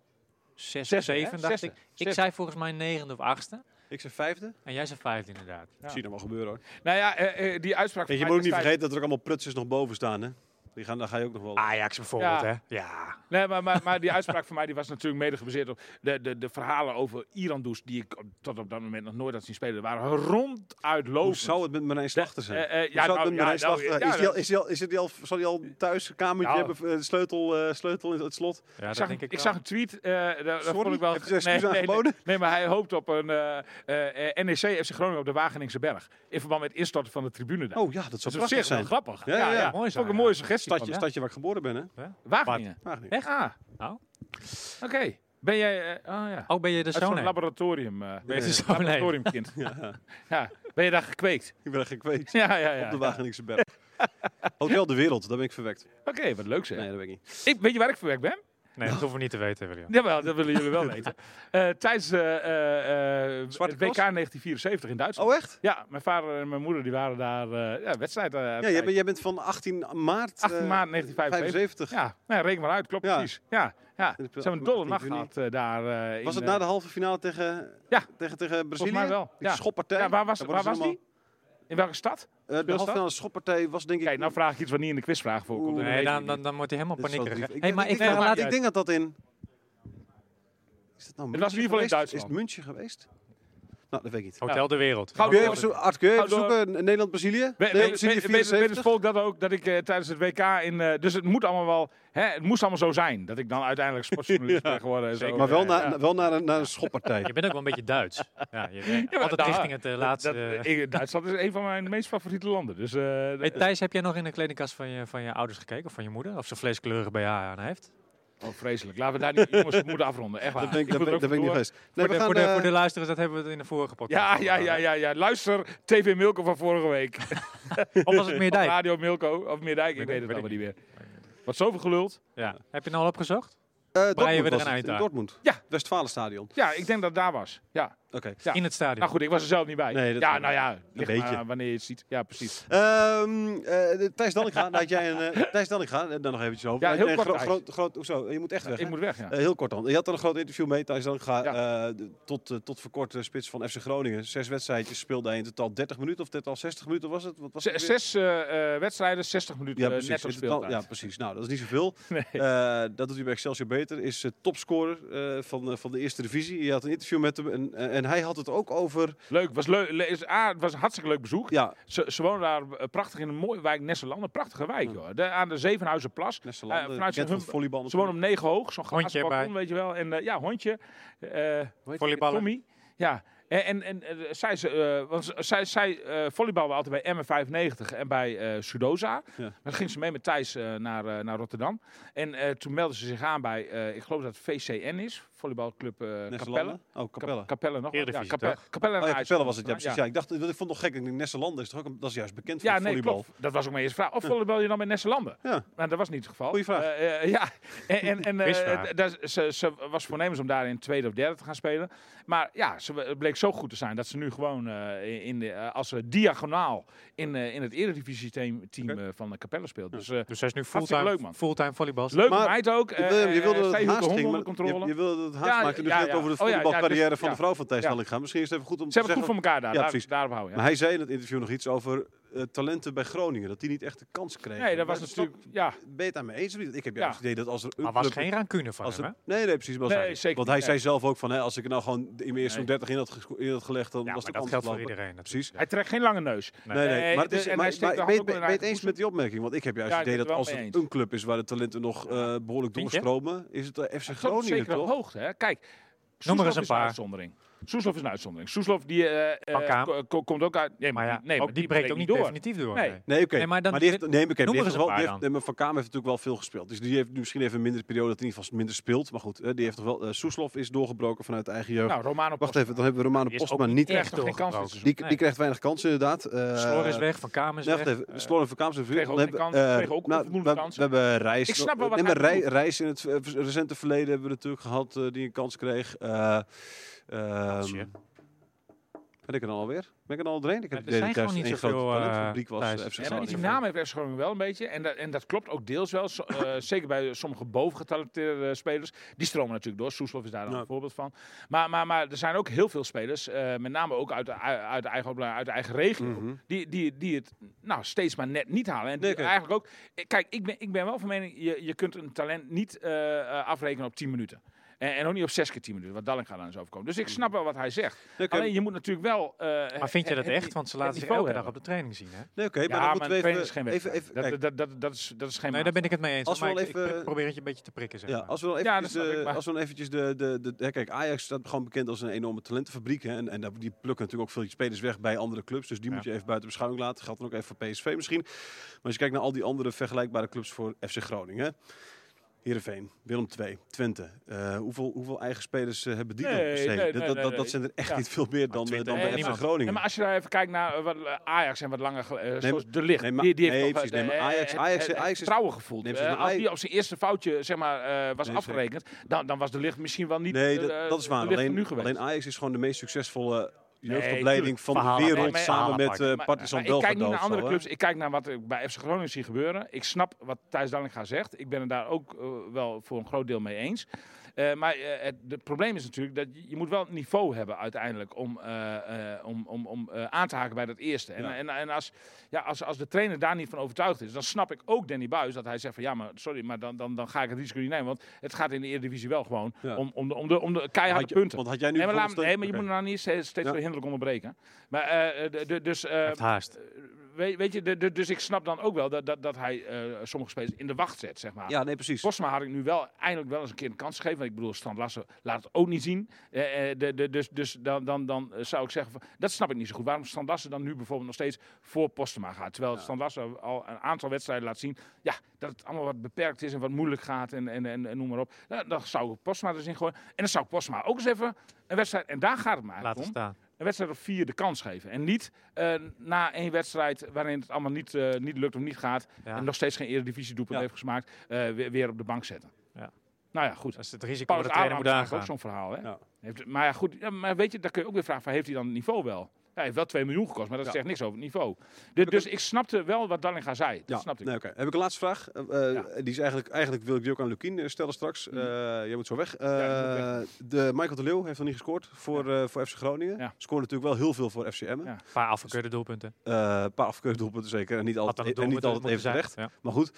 [SPEAKER 4] Zes of
[SPEAKER 3] Zesde, hè?
[SPEAKER 4] zeven, dacht
[SPEAKER 3] Zesde.
[SPEAKER 4] ik. Ik zei volgens mij negende of achtste.
[SPEAKER 2] Ik zeg vijfde.
[SPEAKER 4] En jij zei vijfde inderdaad.
[SPEAKER 3] Ja.
[SPEAKER 2] Zie je dat wel gebeuren hoor.
[SPEAKER 3] Nou ja, eh, eh, die uitspraak.
[SPEAKER 2] Weet je, je
[SPEAKER 3] van
[SPEAKER 2] moet ook
[SPEAKER 3] mij
[SPEAKER 2] niet
[SPEAKER 3] destijds-
[SPEAKER 2] vergeten dat er ook allemaal prutsers nog boven staan. Hè? Die gaan, daar ga je ook nog
[SPEAKER 3] Ah,
[SPEAKER 2] wel.
[SPEAKER 4] Ajax bijvoorbeeld,
[SPEAKER 3] Ja.
[SPEAKER 4] hè? Ja.
[SPEAKER 3] Nee, maar, maar, maar die uitspraak van mij die was natuurlijk mede gebaseerd op de, de, de verhalen over Iran-douche. die ik op- tot op dat moment nog nooit had zien spelen. waren ronduit
[SPEAKER 2] Hoe
[SPEAKER 3] lovend.
[SPEAKER 2] zou het met Marijn Slachter zijn?
[SPEAKER 3] Eh, eh,
[SPEAKER 2] Hoe zou het met Marijn
[SPEAKER 3] nou,
[SPEAKER 2] Slachter
[SPEAKER 3] ja, Nou.
[SPEAKER 2] is die al-
[SPEAKER 3] dat-
[SPEAKER 2] is die al- is het die al- Zal hij al thuis een kamertje
[SPEAKER 3] Ja.
[SPEAKER 2] hebben, eh, sleutel, eh, sleutel in het slot?
[SPEAKER 4] ja
[SPEAKER 3] ik,
[SPEAKER 4] dat
[SPEAKER 3] zag,
[SPEAKER 4] denk
[SPEAKER 3] ik,
[SPEAKER 4] ik wel.
[SPEAKER 3] zag een tweet, eh daar- daar
[SPEAKER 2] Sorry,
[SPEAKER 3] vond ik wel...
[SPEAKER 2] heb je excuus
[SPEAKER 3] nee, nee,
[SPEAKER 2] aangeboden?
[SPEAKER 3] nee, nee, maar hij hoopt op een eh, eh, eh, NEC FC Groningen op de Wageningse Berg. In verband met instorten van de tribune daar.
[SPEAKER 2] Oh ja, dat
[SPEAKER 3] dat
[SPEAKER 2] zou
[SPEAKER 3] is op
[SPEAKER 2] prachtig
[SPEAKER 3] zich wel
[SPEAKER 2] zijn.
[SPEAKER 3] grappig.
[SPEAKER 2] Ja, ja, ja.
[SPEAKER 4] Mooi
[SPEAKER 3] Mooi
[SPEAKER 4] zou
[SPEAKER 3] ook een
[SPEAKER 4] dat.
[SPEAKER 3] mooie suggestie
[SPEAKER 2] Stadje,
[SPEAKER 3] van-
[SPEAKER 2] stadje waar ik geboren ben, hè?
[SPEAKER 3] Wageningen.
[SPEAKER 2] Wageningen.
[SPEAKER 4] Echt?
[SPEAKER 3] Ah.
[SPEAKER 4] Nou.
[SPEAKER 3] Oké. Ben jij... eh, oh ja.
[SPEAKER 4] Oh, ben je de
[SPEAKER 3] Uit zo'n
[SPEAKER 4] zoon? hè?
[SPEAKER 3] laboratorium. eh,
[SPEAKER 4] Ben je de zoon? hè?
[SPEAKER 3] laboratoriumkind. ja. Ben je daar gekweekt?
[SPEAKER 2] Ik ben er gekweekt.
[SPEAKER 3] Ja, ja, ja.
[SPEAKER 2] Op de Wageningse berg. Hotel de Wereld, daar ben ik verwekt.
[SPEAKER 3] Oké, wat leuk zeg.
[SPEAKER 2] Nee, dat weet ik niet.
[SPEAKER 3] Ik, weet je waar ik verwerkt ben?
[SPEAKER 4] Nee, dat hoeven we niet te weten, William.
[SPEAKER 3] Jawel, dat willen jullie wel weten. Eh, tijdens eh, eh, eh,
[SPEAKER 2] Zwarte
[SPEAKER 3] het
[SPEAKER 2] Cross?
[SPEAKER 3] WK 1974 in Duitsland.
[SPEAKER 2] Oh, echt?
[SPEAKER 3] Ja, mijn vader en mijn moeder die waren daar eh ja, wedstrijd. eh, aan
[SPEAKER 2] Ja,
[SPEAKER 3] het
[SPEAKER 2] jij
[SPEAKER 3] kijken.
[SPEAKER 2] bent, jij bent van 18 maart,
[SPEAKER 3] 18
[SPEAKER 2] eh,
[SPEAKER 3] maart
[SPEAKER 2] 75.
[SPEAKER 3] 1975. Ja, nou, ja, reken maar uit, klopt
[SPEAKER 2] Ja.
[SPEAKER 3] precies. Ja, ja.
[SPEAKER 2] In de-
[SPEAKER 3] Ze hebben een
[SPEAKER 2] 18
[SPEAKER 3] dolle nacht
[SPEAKER 2] juni.
[SPEAKER 3] gehad eh, daar. eh,
[SPEAKER 2] Was
[SPEAKER 3] in,
[SPEAKER 2] het na
[SPEAKER 3] eh,
[SPEAKER 2] de halve finale tegen,
[SPEAKER 3] Ja.
[SPEAKER 2] tegen, tegen Brazilië?
[SPEAKER 3] mij wel,
[SPEAKER 2] Die
[SPEAKER 3] ja.
[SPEAKER 2] schoppartij.
[SPEAKER 3] eh, Ja, waar was,
[SPEAKER 2] Daar
[SPEAKER 3] waar
[SPEAKER 2] worden
[SPEAKER 3] was
[SPEAKER 2] ze
[SPEAKER 3] die? In welke stad?
[SPEAKER 2] helemaal- eh, de halve finale schoppartij was denk ik...
[SPEAKER 3] Kijk, nou vraag ik iets wat niet in de quizvraag voorkomt.
[SPEAKER 2] Oeh,
[SPEAKER 3] Dat
[SPEAKER 4] Nee,
[SPEAKER 3] weet ik
[SPEAKER 4] dan,
[SPEAKER 3] niet.
[SPEAKER 4] dan, dan wordt hij
[SPEAKER 2] Dit
[SPEAKER 4] helemaal
[SPEAKER 2] is wel
[SPEAKER 4] paniekerig.
[SPEAKER 2] drie-
[SPEAKER 4] Hé,
[SPEAKER 2] ik-
[SPEAKER 4] maar
[SPEAKER 2] ik-
[SPEAKER 4] ik eh,
[SPEAKER 2] nee,
[SPEAKER 4] ga
[SPEAKER 3] maar
[SPEAKER 4] laten...
[SPEAKER 2] Ik denk dat dat in... Is dat nou
[SPEAKER 3] Het was in ieder geval in
[SPEAKER 2] München geweest? Is
[SPEAKER 3] Duitsland. Oh.
[SPEAKER 2] het München geweest? Nou, dat weet ik niet.
[SPEAKER 4] Hotel de Wereld.
[SPEAKER 3] Gauw
[SPEAKER 2] Kun je
[SPEAKER 3] door.
[SPEAKER 2] even, zo- Art, kun je even
[SPEAKER 3] Ga door.
[SPEAKER 2] zoeken? Nederland-Brazilië?
[SPEAKER 3] We- we- we-
[SPEAKER 2] Nederland-Brazilië
[SPEAKER 3] we- Weet weet het
[SPEAKER 2] 74?
[SPEAKER 3] volk dat ook? Dat ik eh, tijdens het WK in. eh, dus het moet allemaal wel. Hè, het moest allemaal zo zijn. Dat ik dan uiteindelijk sportjournalist ben geworden. En zo.
[SPEAKER 2] Maar wel
[SPEAKER 3] Ja, ja.
[SPEAKER 2] naar, wel naar, een, naar een schoppartij.
[SPEAKER 4] Je bent ook wel een beetje Duits. Ja, je bent
[SPEAKER 3] maar
[SPEAKER 4] altijd
[SPEAKER 3] daar-
[SPEAKER 4] richting het eh, laatste...
[SPEAKER 3] Dat- ik- Duitsland is een van mijn meest favoriete landen. Dus, eh,
[SPEAKER 4] Hey, Thijs, heb jij nog in de kledingkast van je, van je ouders gekeken? Of van je moeder? Of ze vleeskleurige BH aan heeft?
[SPEAKER 3] oh, vreselijk. Laten we daar niet. Jongens, we moeten afronden. Echt waar.
[SPEAKER 2] Dat ben ik, dat
[SPEAKER 3] moet er
[SPEAKER 2] ben,
[SPEAKER 3] ook
[SPEAKER 2] dat ben ik niet
[SPEAKER 3] vandoor.
[SPEAKER 2] geweest. Nee,
[SPEAKER 4] voor,
[SPEAKER 2] we
[SPEAKER 4] de,
[SPEAKER 2] gaan,
[SPEAKER 4] voor, de,
[SPEAKER 2] eh,
[SPEAKER 4] voor de luisteraars, dat hebben we het in de vorige podcast.
[SPEAKER 3] Ja,
[SPEAKER 4] over
[SPEAKER 3] ja,
[SPEAKER 4] gehad.
[SPEAKER 3] ja, ja, ja. Luister, TV Milko van vorige week.
[SPEAKER 4] Of was het meer
[SPEAKER 3] Of
[SPEAKER 4] dijk?
[SPEAKER 3] Radio Milko of Meerdijk.
[SPEAKER 4] Weet ik-
[SPEAKER 3] Ik weet het
[SPEAKER 4] weet ik
[SPEAKER 3] allemaal niet meer. Wat zoveel geluld.
[SPEAKER 4] Ja. Heb je nou al opgezocht?
[SPEAKER 2] eh,
[SPEAKER 4] breien
[SPEAKER 2] Dortmund
[SPEAKER 4] we er
[SPEAKER 2] was
[SPEAKER 4] een
[SPEAKER 2] het,
[SPEAKER 4] eind
[SPEAKER 2] in
[SPEAKER 4] aan.
[SPEAKER 2] Dortmund.
[SPEAKER 3] Ja.
[SPEAKER 2] Westfalenstadion.
[SPEAKER 3] Ja, ik denk dat het daar was. Ja.
[SPEAKER 2] Oké.
[SPEAKER 3] Ja.
[SPEAKER 4] In het stadion.
[SPEAKER 3] Nou goed, ik was er zelf niet bij.
[SPEAKER 2] Nee, dat-
[SPEAKER 3] ja, nou ja. ligt maar
[SPEAKER 2] beetje.
[SPEAKER 3] aan wanneer je het ziet. Ja, precies.
[SPEAKER 2] Ehm, eh, de- Thijs Dallinga, daar had jij een... eh, Thijs Dallinga, eh, daar nog eventjes over.
[SPEAKER 3] Ja,
[SPEAKER 2] Had
[SPEAKER 3] heel
[SPEAKER 2] jij een
[SPEAKER 3] kort,
[SPEAKER 2] gro-
[SPEAKER 3] Thijs.
[SPEAKER 2] groot, groot, hoezo? Je moet echt weg.
[SPEAKER 3] Ik
[SPEAKER 2] hè?
[SPEAKER 3] moet weg, ja.
[SPEAKER 2] Eh, heel kort dan. Je had dan een groot interview mee. Thijs Dallinga, eh, de- tot, eh, tot voor kort eh, spits van FC Groningen. Zes wedstrijdjes speelde hij in totaal 30 minuten of totaal 60 minuten was het? Wat was
[SPEAKER 3] Zes,
[SPEAKER 2] het weer?
[SPEAKER 3] zes eh, eh, wedstrijden, 60 minuten
[SPEAKER 2] Ja,
[SPEAKER 3] eh,
[SPEAKER 2] precies.
[SPEAKER 3] netto
[SPEAKER 2] In totaal-
[SPEAKER 3] speeltijd.
[SPEAKER 2] ja, precies. Nou, dat is niet zoveel.
[SPEAKER 3] Nee.
[SPEAKER 2] Eh, dat doet hij bij Excelsior beter. Is eh, topscorer eh, van, eh, van de eerste divisie. Je had een interview met hem en, eh, en hij had het ook over...
[SPEAKER 3] Leuk, was leuk. le- is- ah, het was een hartstikke leuk bezoek.
[SPEAKER 2] Ja,
[SPEAKER 3] Ze, ze wonen daar eh, prachtig in een mooie wijk, Nesseland. Een prachtige wijk, joh. De, aan de Zevenhuizenplas.
[SPEAKER 2] Nesselanden,
[SPEAKER 3] Eh, vanuit
[SPEAKER 2] bekend van
[SPEAKER 3] hun-
[SPEAKER 2] volleybal.
[SPEAKER 3] Ze wonen om negen hoog, zo'n glazen
[SPEAKER 4] Hondje
[SPEAKER 3] balkon,
[SPEAKER 4] erbij.
[SPEAKER 3] weet je wel. En eh, ja, hondje. eh
[SPEAKER 2] Hoe heet
[SPEAKER 4] Volleyballen.
[SPEAKER 3] Tommy. Ja, En, en, en eh, zij, ze, eh, want ze- zij, zij eh volleybalde altijd bij M95 en bij eh Sudoza.
[SPEAKER 2] Ja.
[SPEAKER 3] Maar dan ging ze mee met Thijs eh, naar, eh, naar Rotterdam. En eh, toen meldde ze zich aan bij, eh, ik geloof dat het VCN is, volleybalclub eh Capelle.
[SPEAKER 2] Nesselanden? Oh, Capelle.
[SPEAKER 3] Ka- Capelle nog? Ja,
[SPEAKER 4] Eredivisie,
[SPEAKER 3] Capelle,
[SPEAKER 4] toch?
[SPEAKER 3] Capelle, en
[SPEAKER 2] Oh ja,
[SPEAKER 3] AIS.
[SPEAKER 2] Capelle was het, ja precies. Ja. ik dacht, ik vond het nog gek, ik denk, Nesselanden is toch ook, een- dat is juist bekend voor
[SPEAKER 3] Ja,
[SPEAKER 2] het
[SPEAKER 3] nee,
[SPEAKER 2] volleybal.
[SPEAKER 3] klopt. Dat was ook mijn eerste vraag. Of volleybal je dan met Nesselanden?
[SPEAKER 2] Ja.
[SPEAKER 3] Nou, dat was niet het geval.
[SPEAKER 2] Goeie vraag.
[SPEAKER 3] Eh, eh, ja, en, en, en eh,
[SPEAKER 4] Quizvraag.
[SPEAKER 3] d- daar- ze, ze was voornemens om daar in tweede of derde te gaan spelen. Maar ja, ze het bleek zo goed te zijn dat ze nu gewoon eh, in de, eh, als eh, diagonaal in, eh, in het eredivisie-team team,
[SPEAKER 2] Oké.
[SPEAKER 3] eh, van de Capelle speelt. Dus eh,
[SPEAKER 4] Dus zij is nu
[SPEAKER 3] Hartstikke
[SPEAKER 4] fulltime,
[SPEAKER 3] leuk, man.
[SPEAKER 4] fulltime volleybalster.
[SPEAKER 3] leuk
[SPEAKER 2] Maar
[SPEAKER 3] meid ook.
[SPEAKER 2] Je,
[SPEAKER 3] eh,
[SPEAKER 2] wilde- je wilde
[SPEAKER 3] eh,
[SPEAKER 2] dat het
[SPEAKER 3] Zeehoeken,
[SPEAKER 2] haast
[SPEAKER 3] honden
[SPEAKER 2] ging,
[SPEAKER 3] onder
[SPEAKER 2] maar je,
[SPEAKER 3] controle.
[SPEAKER 2] je wilde dat het haast
[SPEAKER 3] Ja,
[SPEAKER 2] maken. Nu
[SPEAKER 3] ja,
[SPEAKER 2] ging het
[SPEAKER 3] ja.
[SPEAKER 2] over de
[SPEAKER 3] Oh ja, ja,
[SPEAKER 2] voetbalcarrière
[SPEAKER 3] dus-
[SPEAKER 2] van
[SPEAKER 3] ja.
[SPEAKER 2] de vrouw van Thijs
[SPEAKER 3] Ja.
[SPEAKER 2] Dallinga. Misschien is het even goed om
[SPEAKER 3] Ze
[SPEAKER 2] te
[SPEAKER 3] hebben het goed voor
[SPEAKER 2] zeggen...
[SPEAKER 3] elkaar daar.
[SPEAKER 2] Ja,
[SPEAKER 3] daar
[SPEAKER 2] precies.
[SPEAKER 3] daarop houden, ja.
[SPEAKER 2] Maar hij zei in het interview nog iets over eh, talenten bij Groningen. Dat die niet echt de kans kregen.
[SPEAKER 3] Nee, dat
[SPEAKER 2] Maar
[SPEAKER 3] was natuurlijk... Ja,
[SPEAKER 2] Ben je het daarmee eens? of niet? Ik heb
[SPEAKER 3] Ja.
[SPEAKER 2] juist het idee dat als er... een
[SPEAKER 4] Maar was
[SPEAKER 2] club-
[SPEAKER 4] geen rancune van
[SPEAKER 2] als
[SPEAKER 4] hem,
[SPEAKER 2] er,
[SPEAKER 4] hè?
[SPEAKER 2] nee, nee, precies. Maar als
[SPEAKER 3] Nee,
[SPEAKER 2] hij-
[SPEAKER 3] zeker
[SPEAKER 2] want
[SPEAKER 3] niet,
[SPEAKER 2] hij
[SPEAKER 3] nee.
[SPEAKER 2] zei zelf ook van... Hè, als ik er nou gewoon in mijn eerste
[SPEAKER 3] Nee.
[SPEAKER 2] 30 in had, gesco- in had gelegd... dan
[SPEAKER 4] Ja,
[SPEAKER 2] was
[SPEAKER 4] maar
[SPEAKER 2] het
[SPEAKER 4] dat geldt voor
[SPEAKER 2] afgelopen.
[SPEAKER 4] iedereen natuurlijk.
[SPEAKER 2] Precies.
[SPEAKER 3] hij trekt geen lange neus.
[SPEAKER 2] Nee, nee.
[SPEAKER 3] Nee,
[SPEAKER 2] maar het
[SPEAKER 3] dus-
[SPEAKER 2] is,
[SPEAKER 3] en
[SPEAKER 2] maar,
[SPEAKER 3] hij steekt
[SPEAKER 2] maar
[SPEAKER 3] de
[SPEAKER 2] ben je
[SPEAKER 3] hand ook in
[SPEAKER 2] ben
[SPEAKER 3] haar
[SPEAKER 2] je het eens
[SPEAKER 3] boezem.
[SPEAKER 2] met die opmerking? Want ik heb juist
[SPEAKER 3] Ja, ik
[SPEAKER 2] het idee
[SPEAKER 3] ben
[SPEAKER 2] dat
[SPEAKER 3] het
[SPEAKER 2] als
[SPEAKER 3] wel mee
[SPEAKER 2] er
[SPEAKER 3] eens.
[SPEAKER 2] een club is waar de talenten nog eh, behoorlijk
[SPEAKER 4] Vind je?
[SPEAKER 2] doorstromen... is het de FC
[SPEAKER 3] Tot op
[SPEAKER 2] Groningen,
[SPEAKER 3] zekere
[SPEAKER 2] toch?
[SPEAKER 3] hoogte, hè? Kijk,
[SPEAKER 4] Noem er eens
[SPEAKER 3] Soeslof
[SPEAKER 4] een
[SPEAKER 3] is
[SPEAKER 4] paar.
[SPEAKER 3] een uitzondering. Soeslof is een uitzondering. Soeslof die, eh, eh,
[SPEAKER 4] Bakkaan.
[SPEAKER 3] ko- ko- komt ook uit... Nee,
[SPEAKER 4] Maar ja,
[SPEAKER 3] nee,
[SPEAKER 4] ook die, breekt ook niet
[SPEAKER 3] door.
[SPEAKER 4] definitief door.
[SPEAKER 3] Nee.
[SPEAKER 4] nee.
[SPEAKER 2] Nee, oké.
[SPEAKER 4] Nee, maar
[SPEAKER 2] maar,
[SPEAKER 4] dan-
[SPEAKER 2] die heeft, nee, maar oké,
[SPEAKER 4] noem
[SPEAKER 2] die
[SPEAKER 4] er
[SPEAKER 2] heeft
[SPEAKER 4] eens een
[SPEAKER 2] wel, die
[SPEAKER 4] paar
[SPEAKER 2] heeft,
[SPEAKER 4] dan.
[SPEAKER 2] nee, maar Van Kamer heeft natuurlijk wel veel gespeeld. Dus die heeft nu misschien even een mindere periode dat hij in ieder geval minder speelt. Maar goed, eh, die heeft toch wel... eh, Soeslof is doorgebroken vanuit eigen jeugd.
[SPEAKER 3] Nou, Romano
[SPEAKER 2] Wacht even, dan hebben we Romano
[SPEAKER 4] Die is ook
[SPEAKER 2] Postma niet
[SPEAKER 3] krijgt
[SPEAKER 2] echt. Nou,
[SPEAKER 4] echt
[SPEAKER 3] toch geen kans
[SPEAKER 4] doorgebroken.
[SPEAKER 3] dit seizoen.
[SPEAKER 2] Die,
[SPEAKER 4] Nee.
[SPEAKER 2] die krijgt weinig kansen inderdaad. Eh, nou,
[SPEAKER 4] Slor is weg, Van Kamer is
[SPEAKER 2] Nee, wacht
[SPEAKER 4] weg.
[SPEAKER 2] even. Slor en Van Kamer zijn verhuurd.
[SPEAKER 3] Kregen ook
[SPEAKER 2] We
[SPEAKER 3] geen
[SPEAKER 2] hebben,
[SPEAKER 3] kansen,
[SPEAKER 2] eh,
[SPEAKER 3] kregen ook
[SPEAKER 2] nou,
[SPEAKER 3] onvoldoende
[SPEAKER 2] we-
[SPEAKER 3] kansen.
[SPEAKER 2] We hebben Reis.
[SPEAKER 3] Ik snap wel wat
[SPEAKER 2] nee, maar
[SPEAKER 3] hij
[SPEAKER 2] Rij-
[SPEAKER 3] bedoelt.
[SPEAKER 2] Reis in het eh, recente verleden hebben we natuurlijk gehad eh, die een kans kreeg. Eh, ehm,
[SPEAKER 4] Tje.
[SPEAKER 2] ben ik er dan alweer? Ben ik er al doorheen? Ik heb
[SPEAKER 4] Er
[SPEAKER 2] het idee
[SPEAKER 4] zijn
[SPEAKER 2] dat juist
[SPEAKER 4] gewoon niet
[SPEAKER 2] één grote
[SPEAKER 4] zoveel, eh,
[SPEAKER 2] talentfabriek was.
[SPEAKER 4] Thijs.
[SPEAKER 2] eh, FC
[SPEAKER 3] Ja, maar
[SPEAKER 2] Groningen.
[SPEAKER 3] die naam heeft Groningen wel een beetje. En dat, en dat klopt ook deels wel. Zo- eh, zeker bij sommige bovengetalenteerde eh, spelers. Die stromen natuurlijk door. Soeslof is daar dan
[SPEAKER 2] Ja.
[SPEAKER 3] een voorbeeld van. Maar, maar, maar er zijn ook heel veel spelers. eh, met name ook uit de, ei- uit de eigen, opleiding, uit de eigen regio.
[SPEAKER 2] Mhm.
[SPEAKER 3] die, die, die het nou, steeds maar net niet halen. En die
[SPEAKER 2] Nee, oké.
[SPEAKER 3] eigenlijk ook. eh, Kijk, ik ben, ik ben wel van mening. Je, je kunt een talent niet eh, eh, afrekenen op 10 minuten. En, en ook niet op 6 keer 10 minuten. Wat Dalling gaat aan is overkomen. Dus ik snap wel wat hij zegt.
[SPEAKER 2] Nee, oké.
[SPEAKER 3] Alleen je moet natuurlijk wel. eh,
[SPEAKER 4] Maar vind je
[SPEAKER 3] het-
[SPEAKER 4] dat
[SPEAKER 3] het-
[SPEAKER 4] echt? Want ze
[SPEAKER 3] het
[SPEAKER 4] laten zich
[SPEAKER 3] niveau
[SPEAKER 4] elke dag
[SPEAKER 3] hebben.
[SPEAKER 4] op de training zien, hè?
[SPEAKER 2] Nee, oké,
[SPEAKER 3] Ja,
[SPEAKER 2] maar dan
[SPEAKER 3] maar
[SPEAKER 2] moeten
[SPEAKER 3] een
[SPEAKER 2] we
[SPEAKER 3] trainer is
[SPEAKER 2] even...
[SPEAKER 3] geen
[SPEAKER 2] even,
[SPEAKER 3] wedstrijd.
[SPEAKER 2] even
[SPEAKER 3] Dat-
[SPEAKER 2] kijk,
[SPEAKER 3] dat- dat- Dat is- dat is geen
[SPEAKER 4] Nee, daar ben ik het mee eens.
[SPEAKER 2] Als we
[SPEAKER 4] maar
[SPEAKER 2] wel
[SPEAKER 4] ik- ik
[SPEAKER 2] even-
[SPEAKER 4] probeer het je een beetje te prikken, zeg
[SPEAKER 2] Ja,
[SPEAKER 4] maar.
[SPEAKER 2] als we dan
[SPEAKER 3] Ja,
[SPEAKER 2] eventjes,
[SPEAKER 3] dat snap
[SPEAKER 2] de-
[SPEAKER 3] ik, maar-
[SPEAKER 2] als we dan eventjes de, de, de, hè, Kijk, Ajax staat gewoon bekend als een enorme talentenfabriek. Hè, en en dat- die plukken natuurlijk ook veel spelers weg bij andere clubs. Dus die
[SPEAKER 4] Ja.
[SPEAKER 2] moet je even buiten beschouwing laten. Geldt dan ook even voor PSV misschien. Maar als je kijkt naar al die andere vergelijkbare clubs voor FC Groningen. Hè. Heerenveen, Willem II, Twente. Eh, hoeveel, hoeveel eigen spelers eh, hebben die dan
[SPEAKER 3] Nee,
[SPEAKER 2] per se?
[SPEAKER 3] nee, nee,
[SPEAKER 2] dat, dat,
[SPEAKER 3] nee,
[SPEAKER 2] dat, dat
[SPEAKER 3] nee.
[SPEAKER 2] zijn er echt
[SPEAKER 3] Ja.
[SPEAKER 2] niet veel meer dan, eh,
[SPEAKER 4] Twente
[SPEAKER 2] dan
[SPEAKER 3] hebben
[SPEAKER 2] bij FC
[SPEAKER 4] niemand.
[SPEAKER 3] Nee,
[SPEAKER 2] Groningen.
[SPEAKER 3] maar als je daar even kijkt naar eh, wat, eh, Ajax en wat langer geleden,
[SPEAKER 2] Nee,
[SPEAKER 3] zoals De Ligt,
[SPEAKER 2] nee, maar-
[SPEAKER 3] die, die heeft
[SPEAKER 2] nee,
[SPEAKER 3] toch wel
[SPEAKER 2] precies,
[SPEAKER 3] de-
[SPEAKER 2] nee, maar Ajax-
[SPEAKER 3] het-
[SPEAKER 2] Ajax-
[SPEAKER 3] het- het
[SPEAKER 2] Ajax is-
[SPEAKER 3] vertrouwen gevoeld.
[SPEAKER 2] Nee, precies,
[SPEAKER 3] Eh,
[SPEAKER 2] maar
[SPEAKER 3] als
[SPEAKER 2] Aj-
[SPEAKER 3] die op zijn eerste foutje zeg maar, eh, was
[SPEAKER 2] Nee,
[SPEAKER 3] afgerekend, dan, dan was De Ligt misschien wel niet
[SPEAKER 2] Nee,
[SPEAKER 3] eh,
[SPEAKER 2] dat, dat is
[SPEAKER 3] De
[SPEAKER 2] waar.
[SPEAKER 3] Ligt van
[SPEAKER 2] Alleen,
[SPEAKER 3] nu geweest.
[SPEAKER 2] alleen Ajax is gewoon de meest succesvolle eh,
[SPEAKER 3] tuurlijk.
[SPEAKER 2] jeugdopleiding van de
[SPEAKER 4] Verhalen-
[SPEAKER 2] wereld.
[SPEAKER 3] Nee, maar-
[SPEAKER 2] samen met
[SPEAKER 4] verhalenpark.
[SPEAKER 2] eh
[SPEAKER 3] Maar-
[SPEAKER 2] Partizan
[SPEAKER 3] maar ik kijk niet
[SPEAKER 2] Belgrado.
[SPEAKER 3] naar
[SPEAKER 2] of zo,
[SPEAKER 3] andere
[SPEAKER 2] hè.
[SPEAKER 3] clubs. Ik kijk naar wat ik bij FC Groningen zie gebeuren. Ik snap wat Thijs Dallinga zegt. Ik ben het daar ook eh, wel voor een groot deel mee eens. Eh, maar eh, het de probleem is natuurlijk dat je, je moet wel het niveau hebben uiteindelijk om, eh, eh, om, om, om eh, aan te haken bij dat eerste. En,
[SPEAKER 2] Ja.
[SPEAKER 3] en, en als, ja, als, als de trainer daar niet van overtuigd is, dan snap ik ook Danny Buis dat hij zegt van ja, maar sorry, maar dan, dan, dan ga ik het risico niet nemen. Want het gaat in de Eredivisie wel gewoon
[SPEAKER 2] Ja.
[SPEAKER 3] om, om, de, om, de, om de keiharde
[SPEAKER 2] Had je-
[SPEAKER 3] punten.
[SPEAKER 2] Want had jij nu
[SPEAKER 3] Nee, maar, laat, me-
[SPEAKER 2] bijvoorbeeld-
[SPEAKER 3] nee, maar je
[SPEAKER 2] Oké.
[SPEAKER 3] moet nou niet steeds, steeds
[SPEAKER 2] Ja.
[SPEAKER 3] zo hinderlijk onderbreken. Maar, eh, eh, de- de- dus, eh,
[SPEAKER 4] Hij heeft haast.
[SPEAKER 3] weet, weet je, de- de- dus ik snap dan ook wel dat, dat, dat hij eh, sommige spelers in de wacht zet, zeg maar.
[SPEAKER 2] Ja, nee, precies.
[SPEAKER 3] Postma had ik nu wel eindelijk wel eens een keer een kans gegeven. Want ik bedoel, Stan Lassen laat het ook niet zien. Eh, eh, de, de, dus dus dan, dan, dan eh, zou ik zeggen, van, dat snap ik niet zo goed. Waarom Stan Lassen dan nu bijvoorbeeld nog steeds voor Postma gaat. Terwijl Stan Lassen al een aantal wedstrijden laat zien ja, dat het allemaal wat beperkt is en wat moeilijk gaat en, en, en, en noem maar op. Nou, dan zou ik Postma er eens in gooien. En dan zou ik Postma ook eens even een wedstrijd, en daar gaat het maar eigenlijk
[SPEAKER 4] Laten
[SPEAKER 3] om,
[SPEAKER 4] staan.
[SPEAKER 3] een wedstrijd of vier de kans geven. En niet eh, na één wedstrijd waarin het allemaal niet, eh, niet lukt of niet gaat.
[SPEAKER 4] Ja.
[SPEAKER 3] En nog steeds geen eredivisie doelpunt
[SPEAKER 2] Ja.
[SPEAKER 3] heeft gemaakt. eh, weer, weer op de bank zetten.
[SPEAKER 4] Ja.
[SPEAKER 3] Nou ja, goed.
[SPEAKER 4] Dat is het risico dat
[SPEAKER 3] Paulus
[SPEAKER 4] de trainer
[SPEAKER 3] Abraham
[SPEAKER 4] moet
[SPEAKER 3] is ook
[SPEAKER 4] aangaan.
[SPEAKER 3] zo'n verhaal. Hè?
[SPEAKER 2] Ja.
[SPEAKER 3] Heeft, maar ja, goed. Ja, maar weet je, daar kun je ook weer vragen van, heeft hij dan het niveau wel? Ja, hij heeft wel 2 miljoen gekost, maar dat
[SPEAKER 2] Ja.
[SPEAKER 3] zegt niks over het niveau. Dus, dus ik snapte wel wat Dallinga zei. Dat
[SPEAKER 2] Ja,
[SPEAKER 3] snapte ik.
[SPEAKER 2] nee, oké. Heb ik een laatste vraag? Eh, eh,
[SPEAKER 3] Ja. Mhm.
[SPEAKER 2] Die is eigenlijk, eigenlijk wil ik die ook aan Lukien eh, stellen straks. Eh, jij moet zo weg. Eh,
[SPEAKER 3] Ja, ik
[SPEAKER 2] de Michael de Leeuw heeft nog niet gescoord voor, eh, voor FC Groningen.
[SPEAKER 3] Ja.
[SPEAKER 2] Scoort natuurlijk wel heel veel voor FC Emmen.
[SPEAKER 3] Ja.
[SPEAKER 4] Een paar afgekeurde doelpunten.
[SPEAKER 2] Eh, een paar afgekeurde doelpunten zeker. En niet
[SPEAKER 4] Had dan
[SPEAKER 2] altijd,
[SPEAKER 4] het
[SPEAKER 2] en niet
[SPEAKER 4] doelpunt
[SPEAKER 2] altijd even
[SPEAKER 4] moeten
[SPEAKER 2] terecht.
[SPEAKER 4] zijn. Ja.
[SPEAKER 2] Maar goed,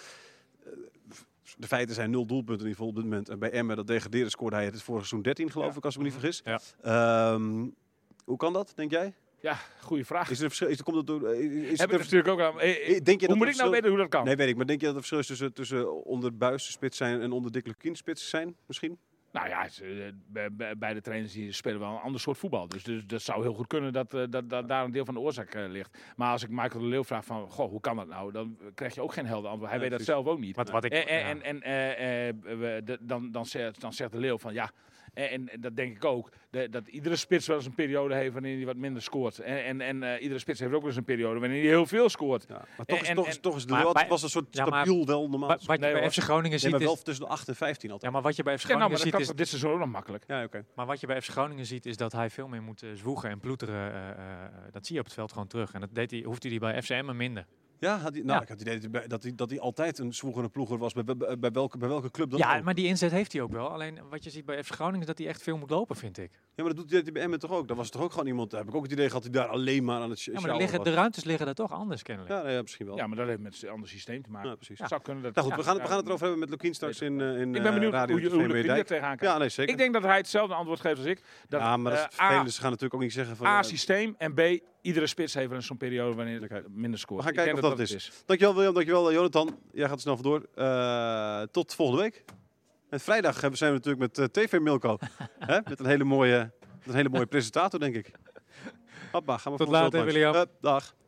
[SPEAKER 2] eh, de feiten zijn nul doelpunten in ieder geval op dit moment. En bij Emmen, dat degraderen, scoorde hij het vorig seizoen 13 geloof
[SPEAKER 3] Ja. Mhm.
[SPEAKER 2] ik, als ik me niet vergis. Ehm, hoe kan dat, denk jij?
[SPEAKER 3] Ja, goede vraag.
[SPEAKER 2] Is er een verschil? Is er, komt dat door, eh, is
[SPEAKER 3] Heb
[SPEAKER 2] het
[SPEAKER 3] ik
[SPEAKER 2] een
[SPEAKER 3] het natuurlijk ook aan. eh, eh,
[SPEAKER 2] Denk je dat
[SPEAKER 3] hoe moet
[SPEAKER 2] het
[SPEAKER 3] ik nou
[SPEAKER 2] verschil-
[SPEAKER 3] weten hoe dat kan?
[SPEAKER 2] Nee, weet ik. Maar denk je dat het verschil is tussen, tussen onder buisspits zijn en onder dikke spits zijn, misschien?
[SPEAKER 3] Nou ja, ze- eh, bij- bij- beide trainers die spelen wel een ander soort voetbal. Dus, dus dat zou heel goed kunnen dat, eh, dat, dat daar een deel van de oorzaak eh, ligt. Maar als ik Michael de Leeuw vraag van, goh, hoe kan dat nou? Dan krijg je ook geen helder antwoord. Hij
[SPEAKER 2] Nee,
[SPEAKER 3] weet dat
[SPEAKER 2] precies.
[SPEAKER 3] zelf ook niet.
[SPEAKER 4] Wat, wat ik,
[SPEAKER 3] En,
[SPEAKER 4] ja.
[SPEAKER 3] en, en eh, eh, we- de- dan, dan, zegt, dan zegt de Leeuw van ja. eh, En, en- en dat denk ik ook. de- dat iedere spits wel eens een periode heeft waarin hij wat minder scoort. En, en, en eh, iedere spits heeft ook wel eens een periode waarin hij heel veel scoort.
[SPEAKER 2] Ja, maar toch, is,
[SPEAKER 3] En-
[SPEAKER 2] toch,
[SPEAKER 3] en-
[SPEAKER 2] is, toch is de
[SPEAKER 4] maar
[SPEAKER 2] wel,
[SPEAKER 4] bij-
[SPEAKER 2] was een soort
[SPEAKER 4] Ja, maar-
[SPEAKER 2] stabiel wel normaal.
[SPEAKER 4] Wa- wat je
[SPEAKER 3] Nee,
[SPEAKER 4] bij
[SPEAKER 3] hoor.
[SPEAKER 4] FC Groningen
[SPEAKER 2] nee,
[SPEAKER 4] ziet
[SPEAKER 2] maar wel
[SPEAKER 4] is...
[SPEAKER 2] tussen de 8 en 15 altijd.
[SPEAKER 4] Ja, maar wat je bij FC
[SPEAKER 3] Ja,
[SPEAKER 4] Groningen
[SPEAKER 3] nou, maar dat
[SPEAKER 4] ziet
[SPEAKER 3] kan
[SPEAKER 4] is...
[SPEAKER 3] toch dit seizoen ook nog makkelijk.
[SPEAKER 2] Ja, oké.
[SPEAKER 4] Maar wat je bij FC Groningen ziet is dat hij veel meer moet eh, zwoegen en ploeteren. eh, eh, eh, dat zie je op het veld gewoon terug. En dat deed hij, hoefde hij bij FCM maar minder.
[SPEAKER 2] Ja, had hij, nou,
[SPEAKER 4] Ja.
[SPEAKER 2] ik had het idee dat hij bij- dat hij, dat hij altijd een zwoegende ploeger was bij, bij, bij welke, bij welke club dan
[SPEAKER 4] Ja,
[SPEAKER 2] ook.
[SPEAKER 4] maar die inzet heeft hij ook wel. Alleen wat je ziet bij FC Groningen is dat hij echt veel moet lopen, vind ik.
[SPEAKER 2] Ja, maar dat doet hij bij Emmen toch ook? Dat was toch ook gewoon iemand, daar heb ik ook het idee gehad, dat hij daar alleen maar aan het
[SPEAKER 4] Ja,
[SPEAKER 2] sjouwen
[SPEAKER 4] maar er liggen,
[SPEAKER 2] was.
[SPEAKER 4] de ruimtes liggen daar toch anders kennelijk.
[SPEAKER 2] Ja, nee, ja, misschien wel.
[SPEAKER 3] Ja,
[SPEAKER 2] Ja,
[SPEAKER 3] maar dat heeft met een ander systeem te maken.
[SPEAKER 2] precies.
[SPEAKER 3] Het zou kunnen dat,
[SPEAKER 2] Nou goed, we,
[SPEAKER 3] ja,
[SPEAKER 2] gaan, het-
[SPEAKER 3] ja.
[SPEAKER 2] we gaan het erover hebben met Lukien straks in, eh, in
[SPEAKER 3] Ik ben
[SPEAKER 2] eh,
[SPEAKER 3] benieuwd
[SPEAKER 2] Radio
[SPEAKER 3] hoe, je, hoe
[SPEAKER 2] TV
[SPEAKER 3] de
[SPEAKER 2] Dijk.
[SPEAKER 3] er tegenaan kijkt.
[SPEAKER 2] Ja, nee, zeker.
[SPEAKER 3] ik denk dat hij hetzelfde antwoord geeft als ik. Dat,
[SPEAKER 2] ja, maar dat is
[SPEAKER 3] eh, A,
[SPEAKER 2] vervelend. Ze gaan natuurlijk ook niet zeggen van... eh,
[SPEAKER 3] A-systeem en B, iedere spits heeft wel eens zo'n periode wanneer
[SPEAKER 2] Oké.
[SPEAKER 3] het minder scoort.
[SPEAKER 2] We gaan
[SPEAKER 3] Ik
[SPEAKER 2] kijken
[SPEAKER 3] denk
[SPEAKER 2] of dat het is. Dankjewel William, dankjewel eh, Jonathan. Jij gaat er snel vandoor. Eh, tot volgende week. En vrijdag hebben- zijn we natuurlijk met eh, TV Milko. Hè? Met een hele mooie, met een hele mooie presentator, denk ik. Hoppa, gaan we
[SPEAKER 4] Tot
[SPEAKER 2] volgens
[SPEAKER 4] later,
[SPEAKER 2] langs.
[SPEAKER 4] William.
[SPEAKER 2] Eh, dag.